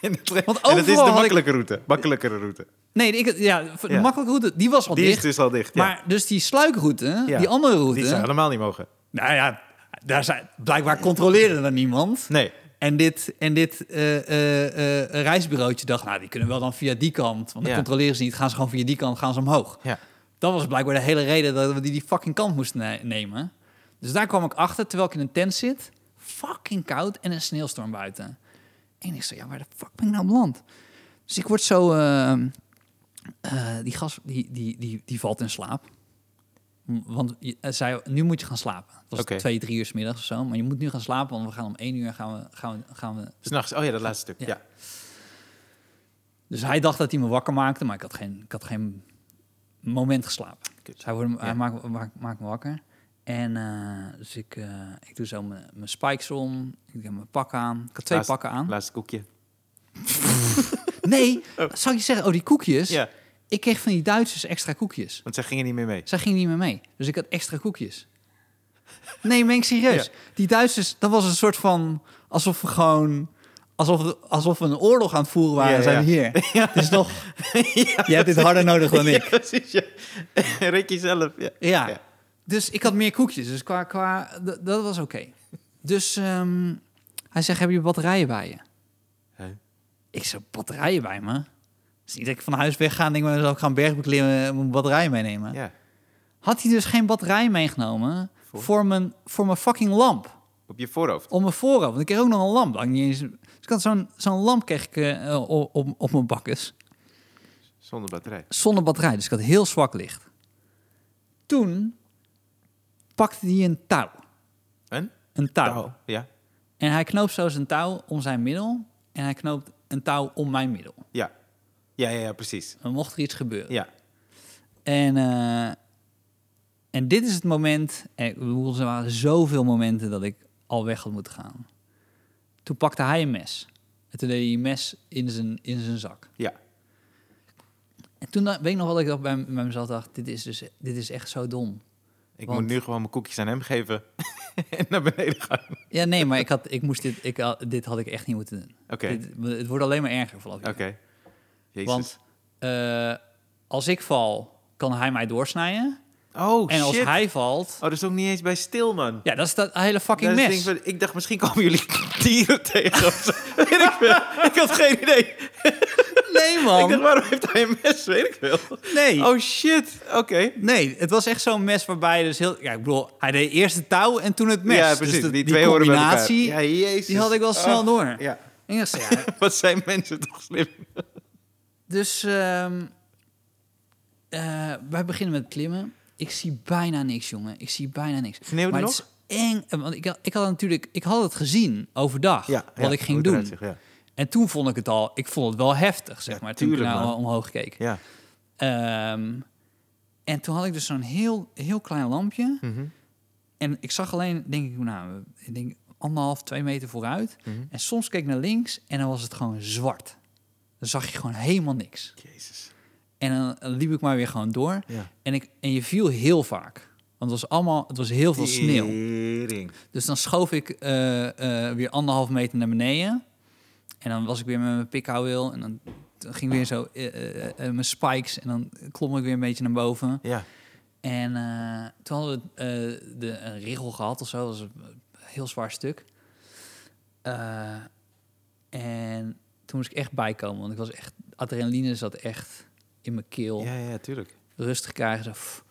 S1: En
S2: Want
S1: dat is de
S2: overal had ik-
S1: makkelijke route. Makkelijkere route.
S2: Nee, ik, ja, de
S1: Ja.
S2: makkelijke route, die was al
S1: Die
S2: dicht.
S1: is dus al dicht. Ja.
S2: Maar dus die sluikroute,
S1: Ja.
S2: die andere route...
S1: Die zou helemaal niet mogen.
S2: Nou ja, daar zijn, blijkbaar controleerde er niemand.
S1: Nee.
S2: En dit, en dit eh, eh, eh, reisbureautje dacht, nou, die kunnen wel dan via die kant. Want dan
S1: Ja.
S2: controleren ze niet, gaan ze gewoon via die kant, gaan ze omhoog.
S1: Ja.
S2: Dat was blijkbaar de hele reden dat we die, die fucking kant moesten ne- nemen. Dus daar kwam ik achter, terwijl ik in een tent zit. Fucking koud en een sneeuwstorm buiten. En ik zei, ja, waar de fuck ben ik nou beland? Dus ik word zo... eh, eh, die gast, die, die, die, die valt in slaap. M- Want je- hij zei, nu moet je gaan slapen. Het was
S1: Oké.
S2: twee, drie uur 's middags of zo. Maar je moet nu gaan slapen, want we gaan om één uur gaan we, gaan we, gaan we
S1: S'nachts. Oh ja, dat laatste stuk.
S2: Ja.
S1: Ja.
S2: dus hij dacht dat hij me wakker maakte, maar ik had geen, ik had geen moment geslapen.
S1: Kut.
S2: Dus hij, wordt, hij
S1: Ja.
S2: maakt, maakt, maakt me wakker. En eh, dus ik, eh, ik doe zo mijn mijn spikes om. Ik heb mijn pak aan. Ik had twee
S1: Laatste-
S2: pakken aan.
S1: Laatste koekje.
S2: Nee, zou je zeggen, oh die koekjes.
S1: Ja.
S2: Ik kreeg van die Duitsers extra koekjes.
S1: Want zij gingen niet meer mee.
S2: Zij ging niet meer mee. Dus ik had extra koekjes. Nee, meen ik serieus.
S1: Ja.
S2: Die Duitsers, dat was een soort van... Alsof we gewoon... Alsof, alsof we een oorlog aan het voeren waren.
S1: Ja,
S2: zijn we
S1: ja.
S2: hier. Het is nog... Jij hebt dit harder nodig dan ik.
S1: Ja, precies. Ja. Rik jezelf. Ja.
S2: Ja.
S1: Ja.
S2: Dus ik had meer koekjes. Dus qua... qua d- dat was oké. Dus ehm, hij zegt, heb je batterijen bij je?
S1: Hè?
S2: Ik zei, batterijen bij me? Het is niet dat ik van huis wegga en denk, maar dan zal ik gaan berg beklimmen en mijn batterijen meenemen.
S1: Ja.
S2: Had hij dus geen batterij meegenomen
S1: Voor?
S2: voor, mijn, voor mijn fucking lamp.
S1: Oké. Op je voorhoofd.
S2: Op mijn voorhoofd. Want ik kreeg ook nog een lamp. Had ik niet eens... Dus ik had zo'n zo'n lamp kreeg ik eh, o- op, op mijn bakkes.
S1: Zonder batterij.
S2: Zonder batterij. Dus ik had heel zwak licht. Toen pakte hij een touw.
S1: Een?
S2: Een touw.
S1: Ja.
S2: En hij knoopt zo zijn touw om zijn middel. En hij knoopt een touw om mijn middel.
S1: Ja. Ja, ja, ja, precies.
S2: Dan mocht er iets gebeuren.
S1: Ja.
S2: En, eh, en dit is het moment. En ik bedoel, er waren zoveel momenten dat ik al weg had moeten gaan. Toen pakte hij een mes. En toen deed hij een mes in zijn, in zijn zak.
S1: Ja.
S2: En toen da- weet ik nog wat ik dacht bij, bij mezelf dacht: dit is, dus, dit is echt zo dom.
S1: Ik
S2: Want-
S1: moet nu gewoon mijn koekjes aan hem geven en naar beneden gaan.
S2: Ja, nee, maar ik had, ik moest dit, ik, had- dit had ik echt niet moeten doen.
S1: Oké.
S2: Dit- het wordt alleen maar erger vanaf
S1: Oké.
S2: hier.
S1: Jezus.
S2: Want eh, als ik val, kan hij mij doorsnijden.
S1: oh,
S2: en als
S1: shit.
S2: hij valt,
S1: Oh, dat is ook niet eens bij stil, man.
S2: ja, dat is dat hele fucking
S1: Dat is
S2: mes.
S1: ding van- ik dacht, misschien komen jullie dieren tegen of zo. Weet ik, veel. ik had geen idee.
S2: Nee, man.
S1: Ik dacht, waarom heeft hij een mes? Weet ik veel.
S2: Nee.
S1: Oh, shit. Oké.
S2: Nee, het was echt zo'n mes waarbij dus heel... Ja, ik bedoel, hij deed eerst het touw en toen het mes.
S1: Ja,
S2: Dus
S1: precies.
S2: de-
S1: die twee horen bij elkaar.
S2: combinatie,
S1: Ja, jezus.
S2: die had ik wel snel
S1: Oh,
S2: door.
S1: Ja.
S2: En ik dacht, ja,
S1: Wat zijn mensen toch slim?
S2: dus ehm, eh, wij beginnen met klimmen. Ik zie bijna niks, jongen. Ik zie bijna niks.
S1: Sneeuwde
S2: maar
S1: nog?
S2: het is eng. eh, Want ik, had- ik had natuurlijk... Ik had het gezien overdag, wat ik ging
S1: hoe het
S2: doen.
S1: eruit ziet, ja.
S2: En toen vond ik het al... Ik vond het wel heftig, zeg
S1: Ja,
S2: maar. Toen ik
S1: tuurlijk,
S2: nou
S1: man.
S2: omhoog keek.
S1: ja.
S2: Ehm, en toen had ik dus zo'n heel, heel klein lampje...
S1: Mhm.
S2: En ik zag alleen, denk ik, nou, ik denk anderhalf, twee meter vooruit.
S1: Mhm.
S2: En soms keek ik naar links en dan was het gewoon zwart. Dan zag je gewoon helemaal niks.
S1: Jezus.
S2: En dan liep ik maar weer gewoon door.
S1: Ja.
S2: En, ik, en je viel heel vaak. Want het was allemaal, het was heel veel sneeuw.
S1: Tering.
S2: Dus dan schoof ik eh, eh, weer anderhalf meter naar beneden. En dan was ik weer met mijn pikhouweel. En dan dan ging weer zo eh, eh, eh, mijn spikes. En dan klom ik weer een beetje naar boven.
S1: Ja.
S2: En eh, toen hadden we eh, de, een rigel gehad of zo. Dat was een heel zwaar stuk. Eh, en toen moest ik echt bijkomen. Want ik was echt... Adrenaline zat echt in mijn keel.
S1: Ja, ja, ja, tuurlijk.
S2: Rustig krijgen. Zo, pff.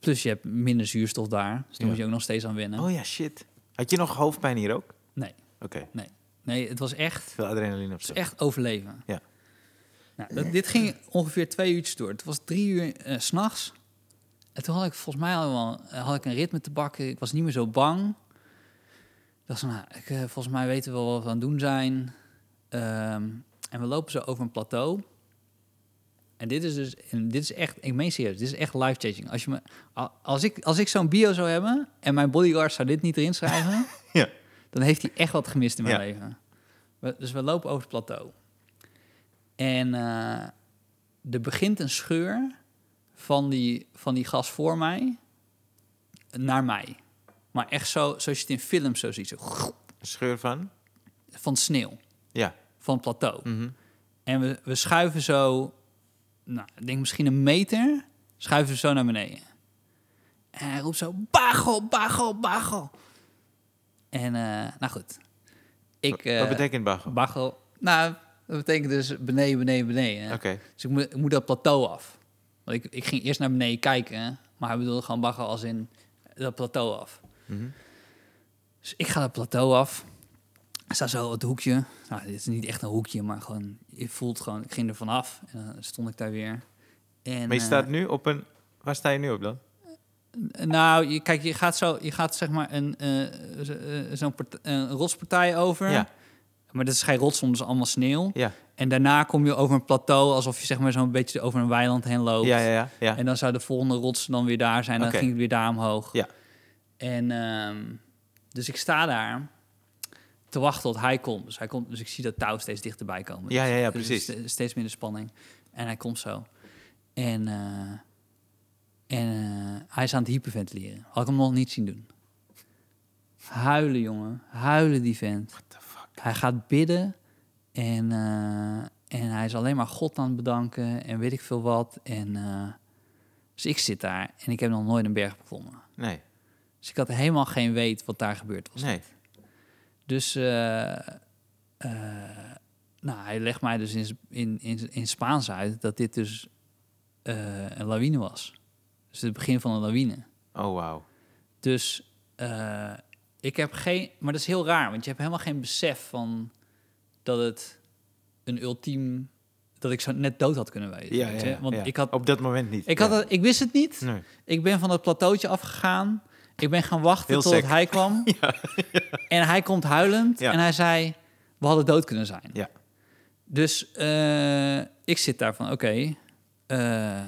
S2: Plus je hebt minder zuurstof daar. Dus daar
S1: Ja.
S2: moet je ook nog steeds aan wennen.
S1: Oh ja, shit. Had je nog hoofdpijn hier ook?
S2: Nee,
S1: Oké.
S2: nee, het was echt...
S1: Veel adrenaline op
S2: Het
S1: zich.
S2: was echt overleven.
S1: Ja.
S2: Nou, dat- dit ging ongeveer twee uurtjes door. Het was drie uur eh, 's s'nachts. En toen had ik volgens mij allemaal had ik een ritme te bakken. Ik was niet meer zo bang. Ik dacht zo, nou, ik, eh, volgens mij weten we wel wat we aan het doen zijn. Ehm, en we lopen zo over een plateau. En dit is dus, en dit is echt, ik meen serieus, dit is echt life-changing. Als, je me- a- als ik, als ik zo'n bio zou hebben en mijn bodyguard zou dit niet erin schrijven,
S1: Ja.
S2: dan heeft hij echt wat gemist in mijn
S1: Ja.
S2: leven. We- dus we lopen over het plateau. En eh, er begint een scheur van die, van die gas voor mij naar mij. Maar echt zo, zoals je het in films zo ziet, zo,
S1: Een scheur van?
S2: van sneeuw,
S1: Ja.
S2: van het plateau.
S1: Mhm.
S2: En we, we schuiven zo, nou, ik denk misschien een meter, schuiven we zo naar beneden. En hij roept zo, bagel, bagel, bagel. En, eh, nou goed. Ik,
S1: Wat
S2: eh,
S1: betekent bagel?
S2: bagel? Nou, dat betekent dus beneden, beneden, beneden.
S1: Oké.
S2: Dus ik moet, ik moet dat plateau af. Want ik, ik ging eerst naar beneden kijken, maar hij bedoelde gewoon bagger als in dat plateau af.
S1: Mhm.
S2: Dus ik ga dat plateau af. Ik sta zo op het hoekje. Nou, dit is niet echt een hoekje, maar gewoon, je voelt gewoon, ik ging er vanaf. En dan stond ik daar weer. En,
S1: Maar je
S2: eh,
S1: staat nu op een... Waar sta je nu op dan?
S2: nou, je, kijk, je gaat, zo, je gaat zeg maar een, eh, zo- eh, zo'n part- een rotspartij over.
S1: Ja.
S2: Maar dat is geen rots, soms is allemaal sneeuw.
S1: Ja.
S2: En daarna kom je over een plateau, alsof je zeg maar zo'n beetje over een weiland heen loopt.
S1: Ja, ja, ja. ja.
S2: En dan zou de volgende rots dan weer daar zijn. Dan
S1: Oké.
S2: ging het weer daar omhoog.
S1: Ja.
S2: En ehm, dus ik sta daar te wachten tot hij komt. Dus, hij komt, dus ik zie dat touw steeds dichterbij komen.
S1: Ja, ja, ja,
S2: Dus
S1: precies.
S2: er is ste- steeds minder spanning. En hij komt zo. En, eh, en eh, hij is aan het hyperventileren. Had ik hem nog niet zien doen. Huilen, jongen. Huilen, die vent.
S1: What the fuck?
S2: Hij gaat bidden en, eh, en hij is alleen maar God aan het bedanken en weet ik veel wat. En, eh, dus ik zit daar en ik heb nog nooit een berg beklommen.
S1: Nee,
S2: Dus ik had helemaal geen weet wat daar gebeurd was.
S1: nee.
S2: Dus eh, eh, nou, hij legt mij dus in, Z- in, in, in Spaans uit dat dit dus eh, een lawine was. Dus het begin van een lawine.
S1: Oh, wauw.
S2: Dus eh, Ik heb geen... Maar dat is heel raar, want je hebt helemaal geen besef van... dat het een ultiem... dat ik zo net dood had kunnen wijzen.
S1: Ja,
S2: weet
S1: ja,
S2: je? Want
S1: ja.
S2: ik had...
S1: Op dat moment niet.
S2: Ik, had
S1: Ja.
S2: het, ik wist het niet.
S1: Nee.
S2: Ik ben van dat plateautje afgegaan. Ik ben gaan wachten
S1: Heel
S2: tot totdat
S1: sec.
S2: hij kwam. En hij komt huilend.
S1: Ja.
S2: En hij zei, we hadden dood kunnen zijn.
S1: Ja.
S2: Dus eh, ik zit daar van, oké. eh,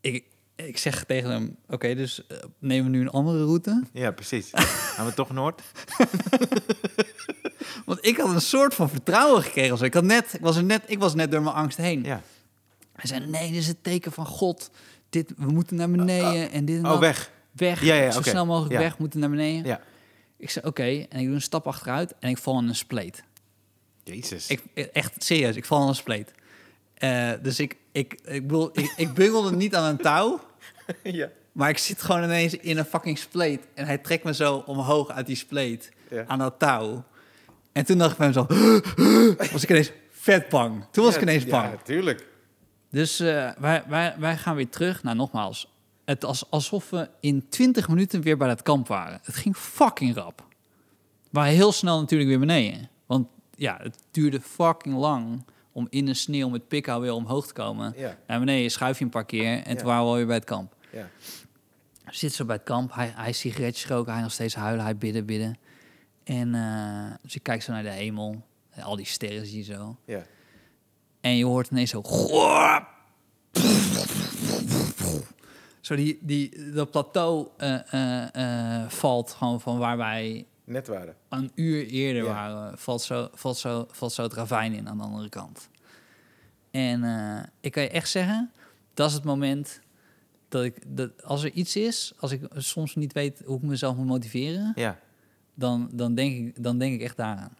S2: ik, ik zeg tegen hem, oké, dus eh, nemen we nu een andere route?
S1: Ja, precies. Gaan we toch Noord?
S2: Want ik had een soort van vertrouwen gekregen. of zo. Ik, had net, ik, was er net, ik was net door mijn angst heen.
S1: Ja.
S2: Hij zei, nee, dit is het teken van God. Dit, we moeten naar beneden en dit en
S1: Oh,
S2: dat.
S1: weg.
S2: Weg,
S1: Ja, ja,
S2: zo
S1: oké.
S2: snel mogelijk
S1: Ja.
S2: weg, we moeten naar beneden.
S1: Ja.
S2: Ik zei, oké, en ik doe een stap achteruit en ik val in een spleet.
S1: Jezus.
S2: Ik, echt serieus, ik val in een spleet. Eh, dus ik, ik, ik bedoel, ik, ik bungelde niet aan een touw,
S1: ja.
S2: maar ik zit gewoon ineens in een fucking spleet. En hij trekt me zo omhoog uit die spleet,
S1: Ja.
S2: aan dat touw. En toen dacht ik bij mezelf, was ik ineens vet bang. Toen was ik ineens bang.
S1: Ja, tuurlijk.
S2: Dus eh, wij, wij, wij gaan weer terug. Nou, nogmaals, het was alsof we in 20 minuten weer bij dat kamp waren. Het ging fucking rap. We waren heel snel natuurlijk weer beneden. Want ja, het duurde fucking lang om in de sneeuw met pikhouw weer omhoog te komen.
S1: Ja.
S2: Naar beneden schuif je een paar keer en
S1: Ja.
S2: toen waren we alweer bij het kamp.
S1: Ja.
S2: We zitten zo bij het kamp, hij, hij is sigaretjes roken, hij nog steeds huilen, hij bidden, bidden. En eh, dus ik kijk zo naar de hemel, al die sterren zie je zo.
S1: Ja.
S2: En je hoort ineens zo... goor. Zo die, die, dat plateau eh, eh, eh, valt gewoon van waar wij
S1: Net waren.
S2: een uur eerder
S1: Ja.
S2: waren. Valt zo, valt, zo, valt zo het ravijn in aan de andere kant. En eh, ik kan je echt zeggen, dat is het moment dat ik... Dat als er iets is, als ik soms niet weet hoe ik mezelf moet motiveren
S1: Ja.
S2: dan, dan, denk ik, dan denk ik echt daaraan.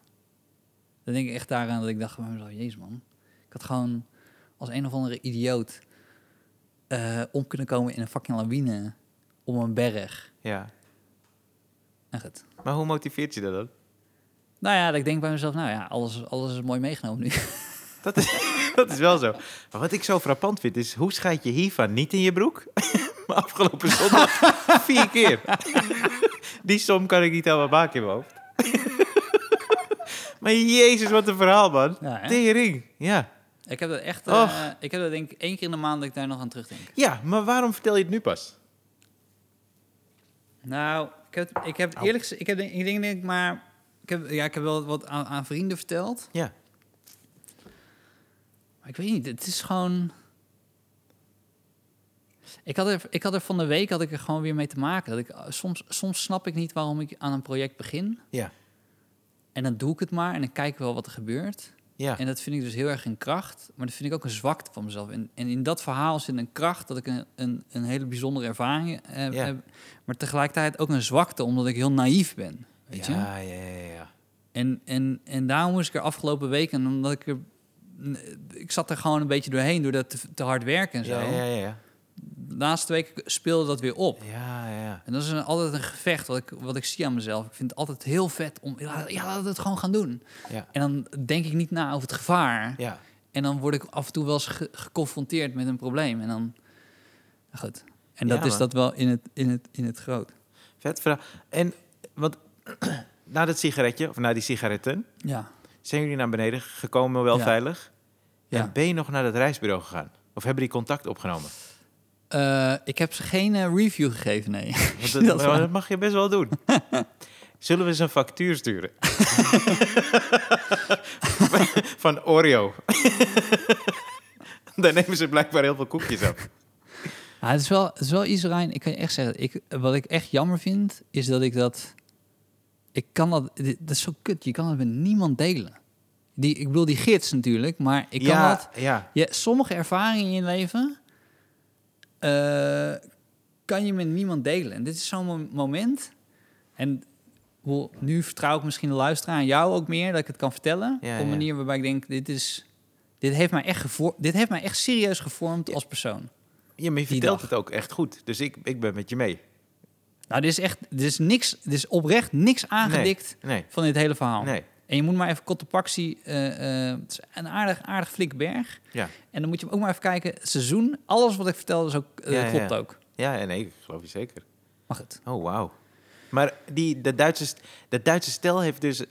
S2: Dan denk ik echt daaraan dat ik dacht van mezelf, jezus man. Ik had gewoon als een of andere idioot eh, om kunnen komen in een fucking lawine om een berg.
S1: Ja.
S2: En goed.
S1: Maar hoe motiveert je dat dan?
S2: Nou ja, dat ik denk bij mezelf, nou ja, alles, alles is mooi meegenomen nu.
S1: Dat is, dat is wel zo. Maar wat ik zo frappant vind is, hoe scheid je hiervan niet in je broek? maar afgelopen zondag vier keer. Die som kan ik niet helemaal maken in mijn hoofd. maar jezus, wat een verhaal, man.
S2: Ja, hè?
S1: Tering. Ja.
S2: ik heb dat echt,
S1: Och.
S2: eh, ik heb dat denk ik één keer in de maand dat ik daar nog aan terugdenk.
S1: ja, maar waarom vertel je het nu pas?
S2: Nou, ik heb, ik heb eerlijk gezegd, ik, heb, denk- ik denk denk ik maar, ik heb, ja, ik heb wel wat aan, aan vrienden verteld.
S1: Ja.
S2: Maar ik weet niet, het is gewoon. Ik had, er, ik had er van de week had ik er gewoon weer mee te maken. Dat ik, eh, soms, soms snap ik niet waarom ik aan een project begin.
S1: Ja.
S2: En dan doe ik het maar en dan kijk ik wel wat er gebeurt.
S1: Ja.
S2: En dat vind ik dus heel erg een kracht. Maar dat vind ik ook een zwakte van mezelf. En, en in dat verhaal zit een kracht dat ik een, een, een hele bijzondere ervaring heb,
S1: Ja.
S2: heb. Maar tegelijkertijd ook een zwakte, omdat ik heel naïef ben. Weet je?
S1: ja, ja, ja, ja.
S2: En, en, en daarom moest ik er afgelopen week, en omdat ik er. Ik zat er gewoon een beetje doorheen door dat te, te hard werken en zo.
S1: Ja, ja, ja.
S2: De laatste week speelde dat weer op.
S1: Ja, ja, ja.
S2: En dat is een, altijd een gevecht wat ik, wat ik zie aan mezelf. Ik vind het altijd heel vet om. Ja, ja, laten we het gewoon gaan doen.
S1: Ja.
S2: En dan denk ik niet na over het gevaar.
S1: Ja.
S2: En dan word ik af en toe wel eens ge- geconfronteerd met een probleem. En dan. Nou Goed. En dat
S1: Ja,
S2: is
S1: man.
S2: dat wel in het, in het, in het groot.
S1: Vet verhaal. En, want na dat sigaretje, of na die sigaretten,
S2: Ja.
S1: zijn jullie naar beneden gekomen, wel
S2: Ja.
S1: veilig?
S2: ja.
S1: En ben je nog naar dat reisbureau gegaan? Of hebben die contact opgenomen?
S2: Eh, ik heb ze geen eh, review gegeven, nee.
S1: Want
S2: Dat
S1: dat,
S2: is
S1: maar
S2: waar.
S1: dat mag je best wel doen. Zullen we eens een factuur sturen? Van Oreo. Daar nemen ze blijkbaar heel veel koekjes af.
S2: Ja, het, is wel, het is wel iets, Rijn. Ik kan je echt zeggen, ik, wat ik echt jammer vind, is dat ik dat... Ik kan dat... dit- Dat is zo kut. Je kan het met niemand delen. Die, ik bedoel, die gids natuurlijk, maar ik kan
S1: ja,
S2: dat...
S1: ja,
S2: Je, sommige ervaringen in je leven... eh, kan je met niemand delen. En dit is zo'n mom- moment. En hoe- nu vertrouw ik misschien de luisteraar aan jou ook meer... dat ik het kan vertellen.
S1: Ja,
S2: op een
S1: ja.
S2: manier waarbij ik denk, dit is... Dit heeft, mij echt gevo- dit heeft mij echt serieus gevormd als persoon.
S1: ja, maar je
S2: Die
S1: vertelt
S2: dag.
S1: het ook echt goed. Dus ik, ik ben met je mee.
S2: Nou, dit is echt, dit is niks, dit is oprecht niks aangedikt
S1: Nee,
S2: van dit hele verhaal.
S1: nee.
S2: En je moet maar even Cotopaxi, eh, eh, het is een aardig, aardig flink berg.
S1: Ja.
S2: En dan moet je ook maar even kijken, het seizoen, alles wat ik vertelde is ook, eh,
S1: Ja, ja,
S2: klopt
S1: ja.
S2: ook.
S1: Ja, nee, ik geloof je zeker.
S2: Maar goed.
S1: Oh, wauw. Maar die, dat, Duitse, st- dat Duitse stel heeft dus...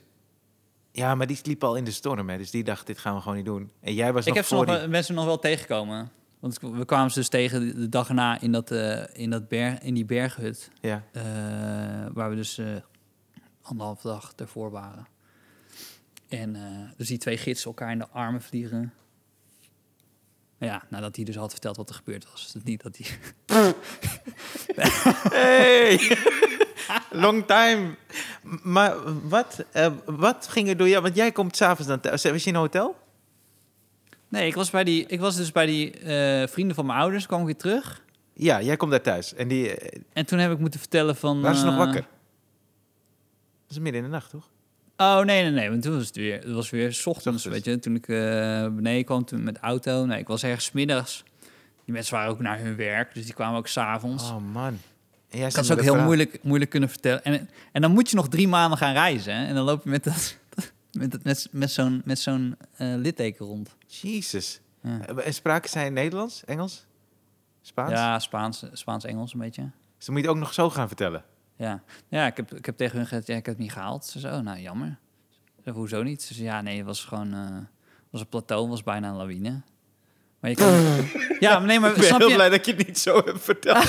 S1: Ja, maar die sliep al in de storm, hè. Dus die dacht, dit gaan we gewoon niet doen. En jij was
S2: Ik
S1: nog
S2: heb ze
S1: voor
S2: nog,
S1: die...
S2: wel- mensen nog wel tegengekomen. Want we kwamen ze dus tegen de dag erna in, dat, eh, in, dat berg, in die berghut.
S1: Ja.
S2: eh, waar we dus eh anderhalf dag ervoor waren. En eh, dus die twee gidsen elkaar in de armen vliegen. Maar Ja, nadat hij dus had verteld wat er gebeurd was. Dus niet dat die
S1: Hey! Long time. M- Maar wat, eh, wat ging er door jou? Want jij komt s'avonds dan thuis. Was je in een hotel?
S2: Nee, ik was, bij die, ik was dus bij die eh, vrienden van mijn ouders, kwam ik weer terug.
S1: Ja, jij komt daar thuis. En die, eh,
S2: En toen heb ik moeten vertellen van...
S1: waren ze nog
S2: eh,
S1: wakker? Dat is midden in de nacht, toch?
S2: Oh, nee, nee, nee. Want toen was het weer, het was weer 's
S1: Ochtends.
S2: ochtends, weet je. Toen ik eh, beneden kwam, toen met de auto. Nee, ik was ergens 's middags. Die mensen waren ook naar hun werk, dus die kwamen ook s'avonds.
S1: Oh man. En jij
S2: ik had ze ook heel moeilijk, moeilijk kunnen vertellen. En, en dan moet je nog drie maanden gaan reizen, hè. En dan loop je met, dat, met, dat, met, met zo'n, met zo'n eh, litteken rond.
S1: Jezus. Eh,
S2: Ja.
S1: En spraken zij Nederlands, Engels, Spaans?
S2: Ja, Spaans, Spaans-Engels een beetje.
S1: Dus dan moet je het ook nog zo gaan vertellen.
S2: Ja, ja ik, heb, ik heb tegen hun gezegd, ja, ik heb het niet gehaald. Ze zei, oh, nou, jammer. Ik zei, hoezo niet? Ze zei, ja, nee, het was gewoon... eh, het was een plateau, was bijna een lawine. Maar je kan... ja, maar nee, maar
S1: Ik ben
S2: snap
S1: heel
S2: je?
S1: blij dat je Ah. het niet zo hebt verteld.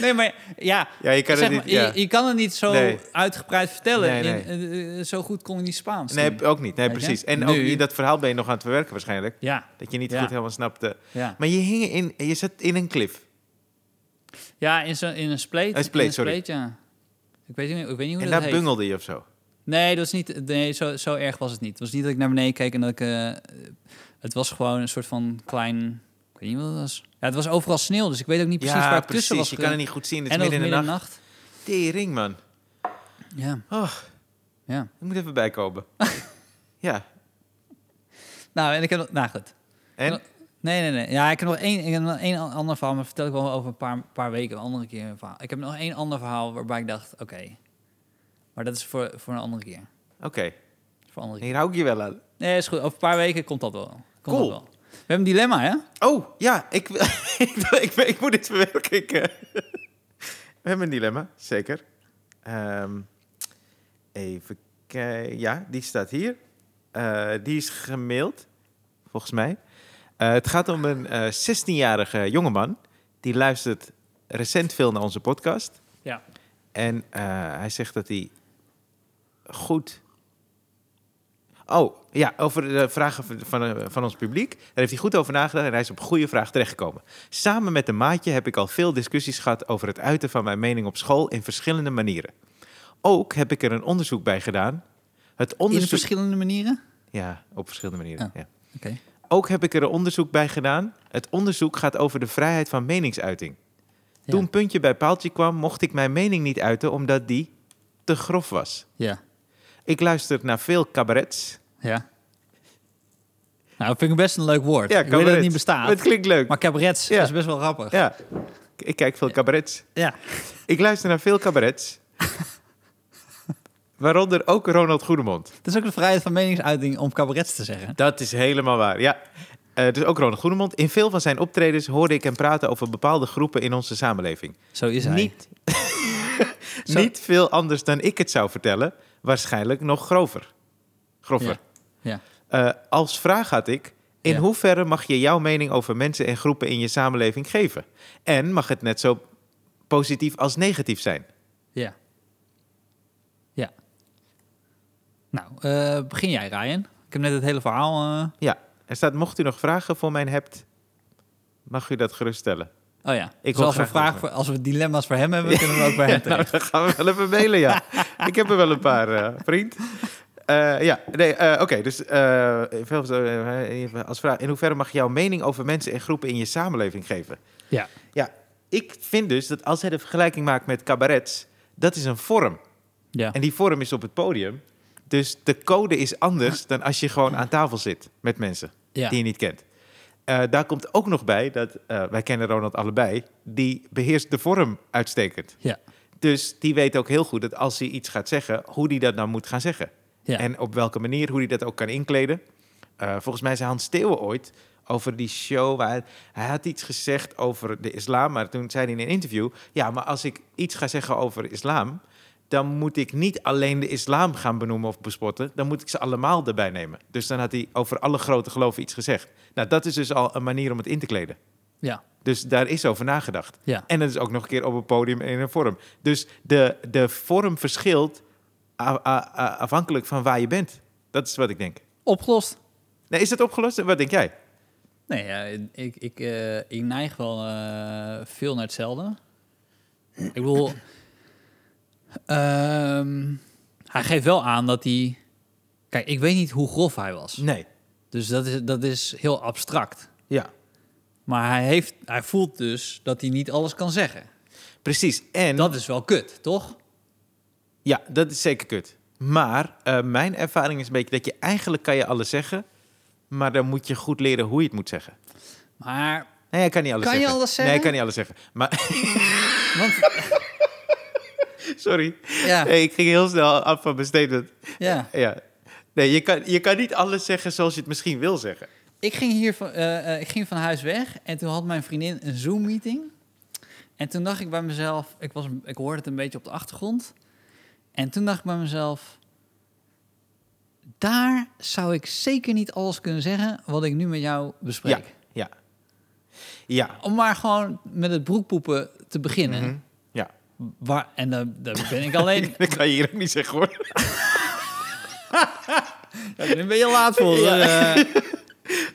S2: Nee, maar ja...
S1: Ja, je kan
S2: zeg
S1: het
S2: maar,
S1: niet... Ja.
S2: je, je kan het niet zo
S1: Nee.
S2: uitgebreid vertellen.
S1: Nee, nee.
S2: In- eh, eh, zo goed kon je niet Spaans.
S1: nee,
S2: toen.
S1: ook niet. Nee,
S2: Weet je?
S1: precies. En
S2: Nu-
S1: ook in dat verhaal ben je nog aan het verwerken waarschijnlijk.
S2: Ja,
S1: Dat je niet
S2: Ja.
S1: goed helemaal snapte.
S2: ja.
S1: Maar je hing in... Je zat in een cliff.
S2: Ja, in, zo'n in een spleet.
S1: Een spleet,
S2: in
S1: sorry.
S2: ja. Ik weet niet, ik weet niet hoe
S1: En
S2: dat
S1: daar
S2: heet.
S1: bungelde je of zo.
S2: Nee, dat is niet, nee zo, zo erg was het niet. Het was niet dat ik naar beneden keek en dat ik... eh, het was gewoon een soort van klein... Ik weet niet wat het was. Ja, het was overal sneeuw, dus ik weet ook niet precies waar ik tussen was.
S1: Je kan het niet goed zien. Het is
S2: en dat was
S1: midden in de nacht.
S2: nacht.
S1: Tering, man.
S2: Ja.
S1: Oh,
S2: ja.
S1: ik moet even bijkomen. ja.
S2: Nou, en ik heb... nog- Nou, goed.
S1: En?
S2: Nee, nee, nee. Ja, ik heb nog één, ik heb nog één an- ander verhaal, maar vertel ik wel over een paar, paar weken, een andere keer een verhaal. Ik heb nog één ander verhaal waarbij ik dacht, oké. Maar dat is voor, voor een andere keer.
S1: Oké.
S2: Voor een andere keer.
S1: Hier hou ik je wel aan.
S2: Nee, is goed. Over een paar weken komt dat wel. Komt
S1: Cool.
S2: dat wel. We hebben een dilemma, hè?
S1: Oh, ja. Ik, wil- ik, wil- ik, wil- ik moet dit verwerken. Ik, eh, we hebben een dilemma, zeker. Ehm, even kijken. Ja, die staat hier. Eh, die is gemaild, volgens mij. Eh, het gaat om een eh, 16-jarige jongeman. Die luistert recent veel naar onze podcast.
S2: Ja.
S1: En eh, hij zegt dat hij goed. Oh, ja, over de vragen van, van, eh, van ons publiek. Daar heeft hij goed over nagedacht en hij is op een goede vraag terechtgekomen. Samen met een maatje heb ik al veel discussies gehad over het uiten van mijn mening op school in verschillende manieren. Ook heb ik er een onderzoek bij gedaan. Het
S2: In
S1: onderzoek.
S2: verschillende manieren?
S1: ja, op verschillende manieren.
S2: Ah.
S1: Ja.
S2: Oké.
S1: Ook heb ik er een onderzoek bij gedaan. Het onderzoek gaat over de vrijheid van meningsuiting.
S2: Ja.
S1: Toen puntje bij paaltje kwam, mocht ik mijn mening niet uiten omdat die te grof was.
S2: Ja.
S1: Ik luister naar veel cabarets.
S2: Ja. Nou, vind ik best een leuk woord. ik weet dat het niet bestaat.
S1: Het klinkt leuk.
S2: Maar cabarets
S1: Ja.
S2: is best wel grappig.
S1: Ja, ik ik kijk veel cabarets.
S2: Ja.
S1: Ik luister naar veel cabarets. Waaronder ook Ronald Goedemond.
S2: Het is ook de vrijheid van meningsuiting om cabarets te zeggen.
S1: Dat is helemaal waar, ja. Eh, dus ook Ronald Goedemond. In veel van zijn optredens hoorde ik hem praten over bepaalde groepen in onze samenleving.
S2: Zo is hij.
S1: Niet, niet veel anders dan ik het zou vertellen. Waarschijnlijk nog grover. Grover.
S2: Ja. Ja.
S1: Eh, als vraag had ik: in
S2: Ja.
S1: hoeverre mag je jouw mening over mensen en groepen in je samenleving geven? En mag het net zo positief als negatief zijn?
S2: Ja. Ja. Nou, eh, begin jij, Ryan. Ik heb net het hele verhaal. eh,
S1: Ja, er staat: mocht u nog vragen voor mijn hebt, mag u dat geruststellen.
S2: Oh ja.
S1: Ik
S2: dus
S1: hoor
S2: als we,
S1: graag
S2: vragen
S1: nog
S2: voor, als we dilemma's voor hem hebben, kunnen we ook bij hem
S1: Nou,
S2: terecht.
S1: dan gaan we wel even mailen, ja. ik heb er wel een paar, eh, vriend. Eh, ja, nee, eh, oké, dus eh, veel- eh, als vraag, in hoeverre mag je jouw mening over mensen en groepen in je samenleving geven?
S2: Ja.
S1: Ja, ik vind dus dat als hij de vergelijking maakt met cabarets, dat is een vorm.
S2: Ja.
S1: En die vorm is op het podium. Dus de code is anders dan als je gewoon aan tafel zit met mensen
S2: Ja.
S1: die je niet kent. Eh, daar komt ook nog bij dat eh, wij kennen Ronald allebei. Die beheerst de vorm uitstekend.
S2: Ja.
S1: Dus die weet ook heel goed dat als hij iets gaat zeggen, hoe die dat nou moet gaan zeggen.
S2: Ja.
S1: En op welke manier, hoe die dat ook kan inkleden. Eh, volgens mij zei Hans Steeuwen ooit over die show. Waar hij had iets gezegd over de islam, maar toen zei hij in een interview... Ja, maar als ik iets ga zeggen over islam, dan moet ik niet alleen de islam gaan benoemen of bespotten. Dan moet ik ze allemaal erbij nemen. Dus dan had hij over alle grote geloven iets gezegd. Nou, dat is dus al een manier om het in te kleden.
S2: Ja,
S1: Dus daar is over nagedacht.
S2: ja.
S1: En het is ook nog een keer op een podium en in een vorm. Dus de, de vorm verschilt a- a- a- afhankelijk van waar je bent. Dat is wat ik denk.
S2: Opgelost.
S1: Nee, is dat opgelost? Wat denk jij?
S2: Nee, ja, ik, ik, eh, ik neig wel eh, veel naar hetzelfde. Ik bedoel, ehm, hij geeft wel aan dat hij... Kijk, ik weet niet hoe grof hij was.
S1: Nee.
S2: Dus dat is, dat is heel abstract.
S1: Ja.
S2: Maar hij, heeft, hij voelt dus dat hij niet alles kan zeggen.
S1: Precies. En
S2: En dat is wel kut, toch?
S1: ja, dat is zeker kut. Maar eh, mijn ervaring is een beetje dat je eigenlijk kan je alles zeggen, maar dan moet je goed leren hoe je het moet zeggen.
S2: Maar,
S1: Nee, ik kan niet alles
S2: Kan je
S1: zeggen.
S2: alles
S1: Nee,
S2: zeggen?
S1: ik kan niet alles zeggen. Maar
S2: want,
S1: sorry,
S2: ja,
S1: Nee, ik ging heel snel af van mijn statement.
S2: ja.
S1: Ja. Nee, je kan, je kan niet alles zeggen zoals je het misschien wil zeggen.
S2: Ik ging hier van, eh, eh, ik ging van huis weg en toen had mijn vriendin een Zoom-meeting. En toen dacht ik bij mezelf, ik, was, een- ik hoorde het een beetje op de achtergrond. En toen dacht ik bij mezelf, daar zou ik zeker niet alles kunnen zeggen wat ik nu met jou bespreek.
S1: Ja. Ja.
S2: Om maar gewoon met het broekpoepen te beginnen.
S1: Mhm. Ja.
S2: waar, en daar, daar ben ik alleen...
S1: Dat kan je hier ook niet zeggen hoor.
S2: Daar ben je laat voor. eh.